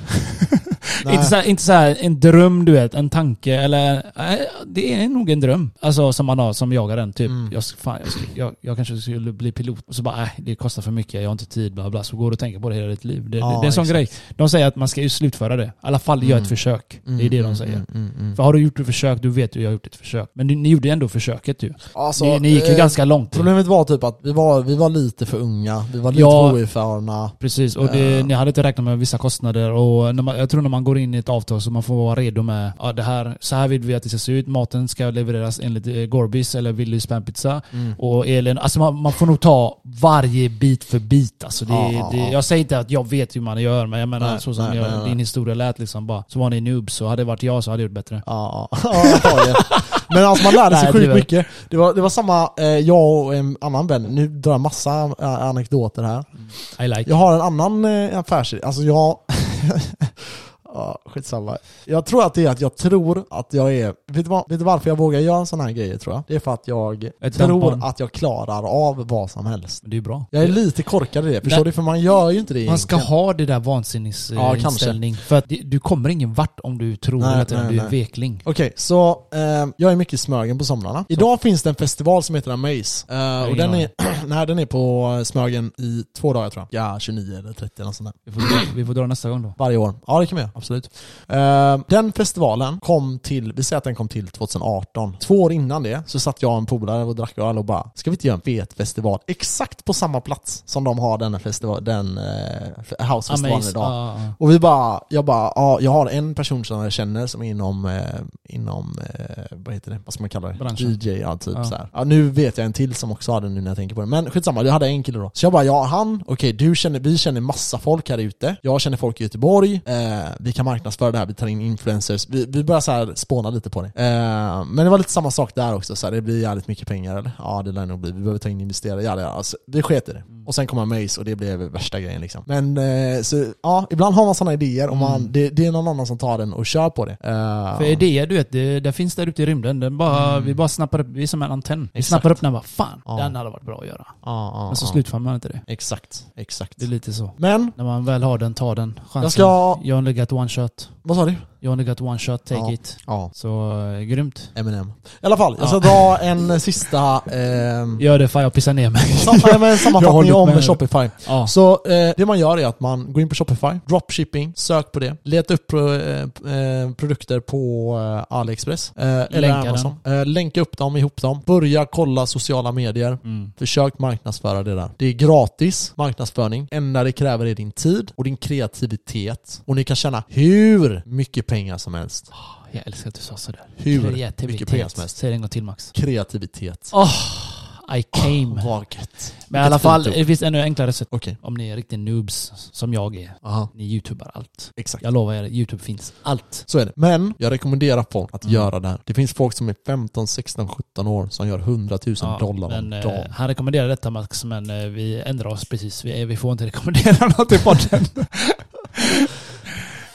Speaker 1: Nej.
Speaker 2: inte så, här, inte så här en dröm du vet, en tanke eller... Nej, det är nog en dröm. Alltså som man har som jagar den. Typ,
Speaker 1: Mm.
Speaker 2: jag, ska- fan, jag, ska- jag, jag kanske skulle bli pilot. Och så bara, nej det kostar för mycket, jag har inte tid, bla bla. Så går du och tänker på det hela ditt liv. Det,
Speaker 1: Ja,
Speaker 2: det är en sån
Speaker 1: exakt.
Speaker 2: grej. De säger att man ska ju slutföra det. I alla fall göra
Speaker 1: Mm.
Speaker 2: ett försök. Det är
Speaker 1: Mm,
Speaker 2: det de
Speaker 1: mm,
Speaker 2: säger.
Speaker 1: mm, mm, mm.
Speaker 2: För har du gjort ett försök, du vet ju jag har gjort ett försök. Men ni, ni gjorde ju ändå försöket ju.
Speaker 1: Alltså,
Speaker 2: ni, ni gick ju
Speaker 1: eh,
Speaker 2: ganska långt. ju.
Speaker 1: Problemet var typ att vi var, vi var lite för unga, vi var lite
Speaker 2: Ja.
Speaker 1: för oerfarna.
Speaker 2: Precis, och det,
Speaker 1: Eh.
Speaker 2: ni hade inte räknat med vissa kostnader. Och när man, jag tror när man går in i ett avtal så man får vara redo med ja, det här, så här vill vi att det ska se ut. Maten ska levereras enligt eh, Gorbis eller Willys Pizza.
Speaker 1: Mm.
Speaker 2: Och elen, alltså man, man får nog ta varje bit för bit. Alltså det,
Speaker 1: Ja, ja,
Speaker 2: det,
Speaker 1: ja.
Speaker 2: jag säger inte att jag vet hur man gör, men jag menar
Speaker 1: Nej,
Speaker 2: så som
Speaker 1: nej,
Speaker 2: jag,
Speaker 1: nej, nej.
Speaker 2: din historia lät liksom bara. Så var ni noobs, så hade det varit jag så hade jag gjort bättre.
Speaker 1: Ja, ja. Ja, antagligen. Men alltså man lärde sig
Speaker 2: Nej,
Speaker 1: sjukt
Speaker 2: tyvärr.
Speaker 1: mycket. Det var, det var samma, eh, jag och en annan vän, nu drar jag massa eh, anekdoter här.
Speaker 2: I like.
Speaker 1: Jag har en annan eh, affärsidé, alltså jag... Ja, skitsamma. Jag tror att det är att jag tror att jag är... Vet du, vad, vet du varför jag vågar göra en sån här grej tror jag? Det är för att jag
Speaker 2: Ett
Speaker 1: tror
Speaker 2: tampon.
Speaker 1: att jag klarar av vad som helst.
Speaker 2: Men det är ju bra.
Speaker 1: Jag är lite korkad i det, förstår
Speaker 2: Nej.
Speaker 1: du? För man gör ju inte det
Speaker 2: Man ska
Speaker 1: egentligen.
Speaker 2: ha det
Speaker 1: Ja,
Speaker 2: där
Speaker 1: kanske.
Speaker 2: vansinnesinställning. för att det, du kommer ingen vart om du tror
Speaker 1: Nej,
Speaker 2: att
Speaker 1: nej,
Speaker 2: du är
Speaker 1: nej.
Speaker 2: vekling.
Speaker 1: Okej, så eh, jag är mycket i Smögen på somrarna. Idag finns det en festival som heter Amaze. Eh, och
Speaker 2: ingen
Speaker 1: den är, nej, den är på eh, Smögen i två dagar tror jag. Ja, 29 eller 30 eller något sånt där.
Speaker 2: Vi får, dra, vi får dra nästa gång då.
Speaker 1: Varje år. Ja, det kan vi göra. Absolut. Eh, den festivalen kom till, vi säger att den kom till 2018. Två år innan det så satt jag och en polare och drack öl och bara, ska vi inte göra en fet festival exakt på samma plats som de har den här festival, den eh, housefestivalen
Speaker 2: Amaze.
Speaker 1: idag?
Speaker 2: Ja, ja.
Speaker 1: Och vi bara, jag bara, ja, jag har en person som jag känner som är inom, eh, inom eh, vad heter det, vad ska man kalla det?
Speaker 2: Branschen.
Speaker 1: DJ, ja typ
Speaker 2: Ja.
Speaker 1: så här. Ja, nu vet jag en till som också har det nu när jag tänker på det. Men skitsamma, jag hade en kille då. Så jag bara, ja han, okej du känner, vi känner massa folk här ute. Jag känner folk i Göteborg, eh, vi kan marknadsföra det här, vi tar in influencers. Vi, vi börjar så här spåna lite på det. Eh, men det var lite samma sak där också, så här, det blir jävligt mycket pengar eller? Ja det lär nog bli, vi behöver ta in investerare, ja, ja. Alltså, vi sket i det.
Speaker 2: Mm.
Speaker 1: Och sen kom Amaze och det blev värsta grejen liksom. Men eh, så, ja, ibland har man sådana idéer och man, det, det är någon annan som tar den och kör på det. Eh,
Speaker 2: Mm. För idéer, du vet, det, det finns där ute i rymden. Den bara, Vi bara snappar upp, vi är som en antenn. Vi
Speaker 1: Mm. Exakt.
Speaker 2: snappar upp den och bara fan,
Speaker 1: Ja.
Speaker 2: den hade varit bra att göra.
Speaker 1: ja, ja,
Speaker 2: Men så
Speaker 1: ja.
Speaker 2: slutför man inte det.
Speaker 1: Exakt, exakt.
Speaker 2: Det är lite så.
Speaker 1: Men,
Speaker 2: När man väl har den, ta den chansen.
Speaker 1: Jag ska-
Speaker 2: You only got one shot.
Speaker 1: vad sa du?
Speaker 2: You only got one shot, take
Speaker 1: Ja.
Speaker 2: it.
Speaker 1: Ja.
Speaker 2: Så eh, grymt.
Speaker 1: Eminem. I alla fall, jag ska dra en sista ehm,
Speaker 2: Gör det fan jag pissar ner mig.
Speaker 1: sam- nej, men
Speaker 3: Jag
Speaker 1: sammanfattning
Speaker 3: håller
Speaker 1: om
Speaker 3: med.
Speaker 1: Shopify.
Speaker 2: ja.
Speaker 1: Så eh, det man gör är att man går in på Shopify, dropshipping, sök på det, leta upp pro, eh, eh, produkter på eh, AliExpress eh, eller
Speaker 2: Länka
Speaker 1: Amazon. Eh, länka upp dem, ihop dem, börja kolla sociala medier,
Speaker 2: Mm.
Speaker 1: Försök marknadsföra det där. Det är gratis marknadsföring. Enda det kräver är din tid och din kreativitet. Och ni kan tjäna hur mycket pengar som helst.
Speaker 2: Jag älskar att du sa sådär.
Speaker 1: Hur mycket pengar
Speaker 2: Kreativitet.
Speaker 1: som helst.
Speaker 2: Säg det en gång till Max.
Speaker 1: Kreativitet.
Speaker 2: I came.
Speaker 1: Vaget.
Speaker 2: Men i alla
Speaker 1: Vilket
Speaker 2: fall,
Speaker 1: fint ord.
Speaker 2: det finns ännu enklare sätt.
Speaker 1: Okej.
Speaker 2: Om ni är riktigt noobs, som jag är.
Speaker 1: Aha.
Speaker 2: Ni youtubar allt.
Speaker 1: Exakt.
Speaker 2: Jag lovar er, youtube finns allt.
Speaker 1: Så är det. Men jag rekommenderar folk att
Speaker 2: Mm.
Speaker 1: göra det här. Det finns folk som är 15, 16, 17 år som gör 100 000 dollar om
Speaker 2: men, eh,
Speaker 1: dagen.
Speaker 2: Han rekommenderar detta Max, men eh, vi ändrar oss precis. Vi, vi får inte rekommendera något i podden.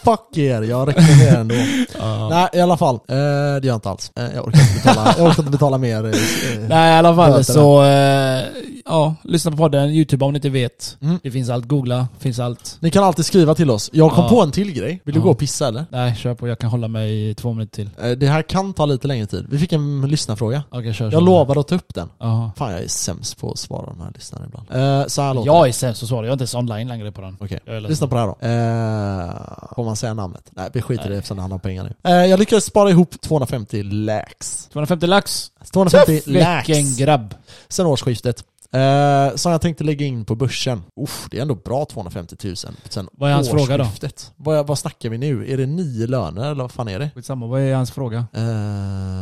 Speaker 1: Fuck er, jag rekommenderar ändå.
Speaker 2: Ja.
Speaker 1: Nej, i alla fall. Eh, det gör jag inte alls. Eh, jag, orkar inte betala, jag orkar inte betala mer. eh, eh,
Speaker 2: Nej i alla fall
Speaker 1: Böterna.
Speaker 2: så, eh, ja, lyssna på podden, youtube om ni inte vet.
Speaker 1: Mm.
Speaker 2: Det finns allt, googla, finns allt.
Speaker 1: Ni kan alltid skriva till oss. Jag kom
Speaker 2: Ja.
Speaker 1: på en till grej. Vill du
Speaker 2: Ja.
Speaker 1: gå och pissa eller?
Speaker 2: Nej, kör på, jag kan hålla mig i två minuter till.
Speaker 1: Eh, Det här kan ta lite längre tid. Vi fick en lyssnarfråga.
Speaker 2: Okej, kör. kör.
Speaker 1: Jag lovade att ta upp den.
Speaker 2: Jaha.
Speaker 1: Fan jag är sämst på att svara de här lyssnarna ibland. Eh, så här låter det.
Speaker 2: Jag är sämst att svara, jag är inte ens online längre på den.
Speaker 1: Okej,
Speaker 2: Jag är ledsen.
Speaker 1: lyssna på det här då. Eh, får man säga namnet? Nej, vi skiter i det
Speaker 2: Nej.
Speaker 1: eftersom det handlar om pengar nu. Eh, jag lyckades spara ihop 250 lax.
Speaker 2: 250 lax.
Speaker 1: 250
Speaker 2: Tuff
Speaker 1: lax
Speaker 2: vilken grabb.
Speaker 1: sen årsskiftet. Eh, som jag tänkte lägga in på börsen. Uff, det är ändå bra 250 000 sen
Speaker 2: Vad är hans fråga då?
Speaker 1: årsskiftet. Vad, vad snackar vi nu? Är det nio löner eller vad fan är det?
Speaker 2: Skitsamma, vad är hans fråga?
Speaker 1: Eh,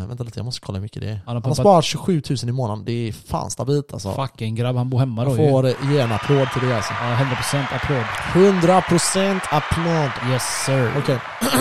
Speaker 1: vänta lite, jag måste kolla hur mycket det är.
Speaker 2: har
Speaker 1: Han har
Speaker 2: pumpat-
Speaker 1: sparat 27 000 i månaden. Det är fan stabilt alltså.
Speaker 2: Fucking grabb, han bor hemma då
Speaker 1: Jag
Speaker 2: ju. Ja,
Speaker 1: får ge en applåd till det alltså.
Speaker 2: 100% applåd.
Speaker 1: 100% applåd.
Speaker 2: Yes sir.
Speaker 1: Okej.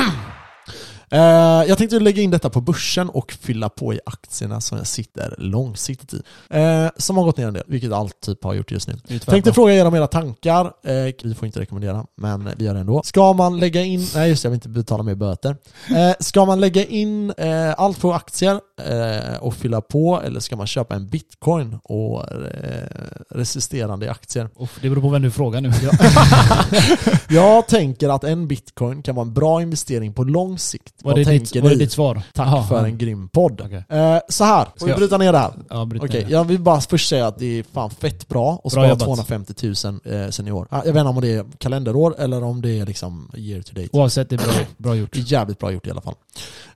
Speaker 1: Eh, jag tänkte lägga in detta på börsen och fylla på i aktierna som jag sitter långsiktigt i. Eh, som har gått ner en del, vilket allt typ har gjort just nu.
Speaker 2: Det är tvärtom.
Speaker 1: Tänkte fråga er om era tankar. Eh, vi får inte rekommendera, men vi gör det ändå. Ska man lägga in... Nej just det, jag vill inte betala mer böter. Eh, ska man lägga in eh, allt på aktier eh, och fylla på eller ska man köpa en bitcoin och eh, resisterande i aktier?
Speaker 2: Uff, det beror på vem du frågar nu.
Speaker 1: Jag tänker att en bitcoin kan vara en bra investering på lång sikt.
Speaker 2: Var
Speaker 1: Vad
Speaker 2: det, ditt,
Speaker 1: tänker
Speaker 2: var det
Speaker 1: ni?
Speaker 2: ditt svar?
Speaker 1: Tack
Speaker 2: Jaha,
Speaker 1: för
Speaker 2: ja.
Speaker 1: en grym podd.
Speaker 2: Okej.
Speaker 1: Eh, så här,
Speaker 2: Ska
Speaker 1: får vi
Speaker 2: jag-
Speaker 1: bryta ner det här?
Speaker 2: Ja, bryt
Speaker 1: Okej,
Speaker 2: ner det.
Speaker 1: jag vill bara först säga att det är fan fett bra att
Speaker 2: Bra
Speaker 1: spara
Speaker 2: jobbat.
Speaker 1: 250 000 eh, sen i år. Ah, Jag vet inte om det är kalenderår eller om det är liksom year to date.
Speaker 2: Oavsett, det är bra, bra gjort.
Speaker 1: Det är jävligt bra gjort i alla fall.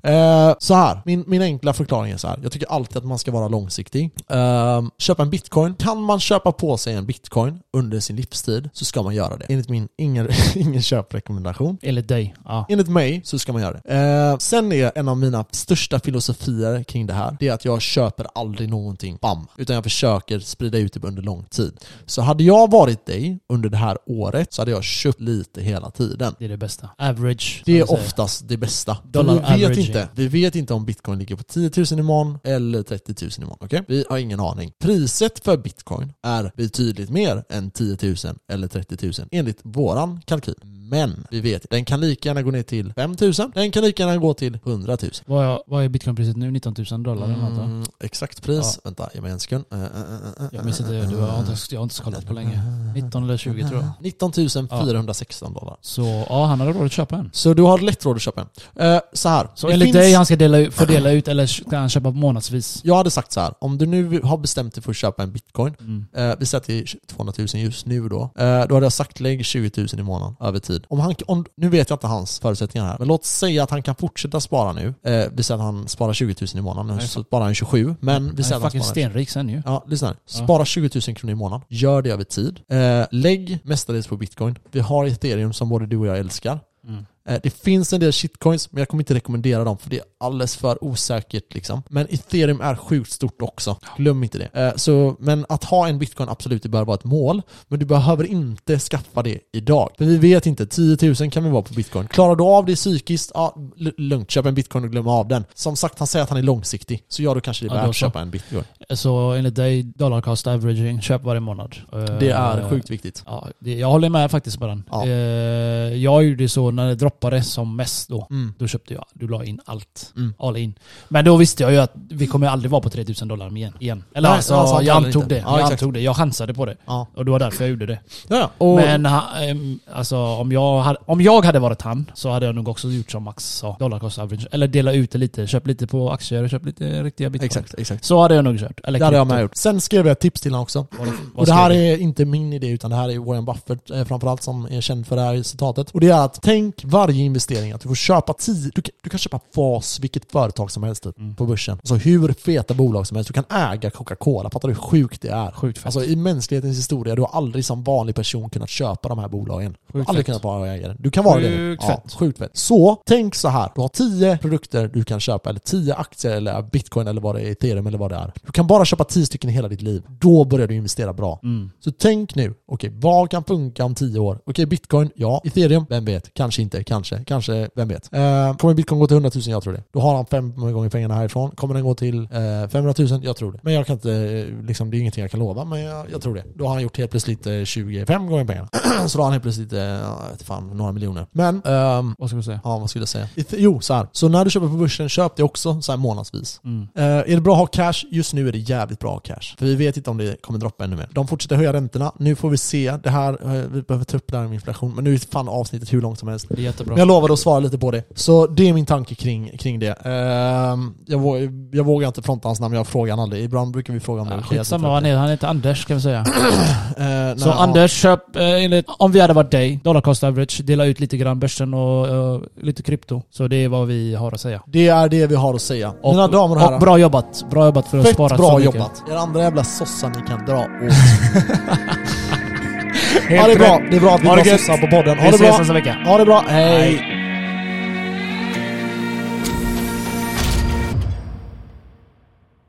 Speaker 1: Eh, så här, min, min enkla förklaring är så här. Jag tycker alltid att man ska vara långsiktig. Eh, köpa en bitcoin. Kan man köpa på sig en bitcoin under sin livstid så ska man göra det. Enligt min ingen, ingen köprekommendation.
Speaker 2: Enligt dig. Ja.
Speaker 1: Enligt mig så ska man göra det. Eh, sen är en av mina största filosofier kring det här, det är att jag köper aldrig någonting bam, utan jag försöker sprida ut det under lång tid. Så hade jag varit dig under det här året så hade jag köpt lite hela tiden.
Speaker 2: Det är det bästa. Average. som
Speaker 1: Det
Speaker 2: vi
Speaker 1: är
Speaker 2: säger.
Speaker 1: oftast det bästa. För
Speaker 2: Dollar
Speaker 1: vi, vet
Speaker 2: averaging.
Speaker 1: inte, vi vet inte om bitcoin ligger på 10 000 imorgon eller 30 000 imorgon. okej? Vi har ingen aning. Priset för bitcoin är betydligt mer än 10 000 eller 30 000 enligt våran kalkyl. Men vi vet, den kan lika gärna gå ner till 5000. Den kan lika gärna gå till 100 000.
Speaker 2: Vad är, vad är bitcoinpriset nu? 19 000 dollar eller något va?
Speaker 1: Mm, exakt pris. Vänta, ge mig en sekund. Eh, eh, eh, eh,
Speaker 2: Jag minns inte, det var, jag, har inte, jag har inte kollat på länge. 19 eller 20 tror jag.
Speaker 1: 19 416 dollar.
Speaker 2: Så ja, han hade råd att köpa en.
Speaker 1: Så du har lätt råd att köpa en. Eh, så här.
Speaker 2: Så
Speaker 1: det
Speaker 2: enligt
Speaker 1: finns-
Speaker 2: dig han ska dela, ut- få dela ut eller ska han köpa månadsvis?
Speaker 1: Jag hade sagt så här. om du nu har bestämt dig för att köpa en bitcoin,
Speaker 2: Mm.
Speaker 1: eh, vi säger att det är 200 000 just nu då, eh, då hade jag sagt lägg 20 000 i månaden över tid. Om han, om, nu vet jag inte hans förutsättningar här, men låt säga att han kan fortsätta spara nu. Eh, vi säger att han sparar 20 000 i månaden, nu
Speaker 2: Nej,
Speaker 1: så sparar han 27, men vi
Speaker 2: Han
Speaker 1: säger
Speaker 2: är
Speaker 1: att han
Speaker 2: fucking
Speaker 1: sparar
Speaker 2: stenrik sen ju.
Speaker 1: Ja, lyssna här.
Speaker 2: Ja.
Speaker 1: Spara 20 000 kronor i månaden. Gör det över tid. Eh, lägg mestadels på bitcoin. Vi har ethereum som både du och jag älskar.
Speaker 2: Mm.
Speaker 1: Eh, det finns en del shitcoins, men jag kommer inte rekommendera dem för det är alldeles för osäkert. Liksom. Men ethereum är sjukt stort också. Glöm inte det. Eh, så, men att ha en bitcoin, absolut, det bör vara ett mål. Men du behöver inte skaffa det idag. För vi vet inte, 10 000 kan vi vara på bitcoin. Klarar du av det psykiskt, ja, l- lugnt. Köp en bitcoin och glöm av den. Som sagt, han säger att han är långsiktig. Så ja, då kanske det är
Speaker 2: Ja,
Speaker 1: värt
Speaker 2: då
Speaker 1: att
Speaker 2: så.
Speaker 1: köpa en bitcoin.
Speaker 2: Så enligt dig, dollar cost averaging, köp varje månad.
Speaker 1: Det
Speaker 2: Eh,
Speaker 1: är sjukt viktigt.
Speaker 2: Ja, det, jag håller med faktiskt på den.
Speaker 1: Ja.
Speaker 2: Eh, jag gjorde så när det droppade som mest då.
Speaker 1: Mm.
Speaker 2: Då köpte jag, du la in allt.
Speaker 1: Mm.
Speaker 2: All in. Men då visste jag ju att vi kommer aldrig vara på 3000 dollar igen. igen. Eller
Speaker 1: Nej,
Speaker 2: alltså,
Speaker 1: alltså,
Speaker 2: jag
Speaker 1: antagligen
Speaker 2: antog
Speaker 1: inte.
Speaker 2: det.
Speaker 1: Ja,
Speaker 2: jag
Speaker 1: exakt.
Speaker 2: antog det. Jag chansade på det.
Speaker 1: Ja.
Speaker 2: Och det var därför jag gjorde det.
Speaker 1: Ja, ja. och,
Speaker 2: Men ha- ehm, alltså, om, jag hade, om jag hade varit han så hade jag nog också gjort som Max sa. Dollar cost average. Eller dela ut det lite. Köp lite på aktier och köp lite riktiga bitcoin.
Speaker 1: exakt, exakt.
Speaker 2: Så hade jag nog kört. Eller
Speaker 1: Det hade jag
Speaker 2: krypto.
Speaker 1: med gjort. Sen skrev jag ett tips till honom också.
Speaker 2: Vad- vad
Speaker 1: Och det
Speaker 2: skrev
Speaker 1: här
Speaker 2: du?
Speaker 1: är inte min idé utan det här är Warren Buffett eh, framförallt som är känd för det här citatet. Och det är att tänk varje investering att du får köpa 10, du, kan- du kan köpa FAS, vilket företag som helst typ,
Speaker 2: Mm.
Speaker 1: på börsen. Alltså hur feta bolag som helst. Du kan äga Coca-Cola. Fattar du hur sjukt det är?
Speaker 2: Sjukt fett.
Speaker 1: Alltså i mänsklighetens historia, du har aldrig som vanlig person kunnat köpa de här bolagen. Du har
Speaker 2: Sjukt
Speaker 1: aldrig
Speaker 2: fett.
Speaker 1: kunnat vara ägare. Du kan vara det nu.
Speaker 2: Sjukt fett.
Speaker 1: Ja, sjukt fett. Så tänk så här, du har 10 produkter du kan köpa, eller 10 aktier, eller bitcoin, eller vad det är, ethereum, eller vad det är. Du kan bara köpa 10 stycken i hela ditt liv. Då börjar du investera bra.
Speaker 2: Mm.
Speaker 1: Så tänk nu, okej, vad kan funka om 10 år? Okej, bitcoin, ja. Ethereum, vem vet? Kanske inte, kanske, kanske, vem vet? Eh, kommer bitcoin gå till 100 000? Jag tror det. Då har han fem gånger pengarna härifrån. Kommer den gå till eh, 500 000? Jag tror det. Men jag kan inte, eh, liksom, det är ingenting jag kan lova, men jag, jag tror det. Då har han gjort helt plötsligt eh, 25 gånger pengarna. så då har han helt plötsligt, eh, jag vet fan, några miljoner. Men, ehm,
Speaker 2: Vad ska du säga?
Speaker 1: ja vad skulle jag säga? Eth- Jo, så här. Så när du köper på börsen, köp det också så här månadsvis.
Speaker 2: Mm.
Speaker 1: Eh, är det bra att ha cash? Just nu är det jävligt bra att ha cash. För vi vet inte om det kommer droppa ännu mer. De fortsätter höja räntorna. Nu får vi se. Det här, eh, vi behöver ta upp det här med inflation. Men nu är fan avsnittet hur långt som helst.
Speaker 2: Det är jättebra.
Speaker 1: Men jag lovade att svara lite på det. Så det är min tanke kring, kring det. Ehm, jag, vå- jag vågar inte fronta hans namn, jag frågar han aldrig. Ibland brukar vi fråga om det.
Speaker 2: Ja,
Speaker 1: Det är
Speaker 2: Skitsamma vad
Speaker 1: jättefett.
Speaker 2: han heter, han heter Anders kan vi säga.
Speaker 1: Eh,
Speaker 2: Så
Speaker 1: nej, ja.
Speaker 2: Anders, köp eh, enligt, om vi hade varit dig, dollar cost average, dela ut lite grann börsen och eh, lite krypto. Så det är vad vi har att säga.
Speaker 1: Det är det vi har att säga.
Speaker 2: Och,
Speaker 1: Mina damer och herrar.
Speaker 2: och bra jobbat. Bra jobbat för att
Speaker 1: Fett
Speaker 2: spara så
Speaker 1: bra
Speaker 2: mycket.
Speaker 1: jobbat. Er andra jävla sossar ni kan dra åt. ha det bra. Det är bra att vi
Speaker 2: Ha det
Speaker 1: drar
Speaker 2: gött.
Speaker 1: sossar på podden.
Speaker 2: Vi
Speaker 1: Ha det
Speaker 2: ses
Speaker 1: bra.
Speaker 2: nästa vecka.
Speaker 1: Ha det bra. Hej.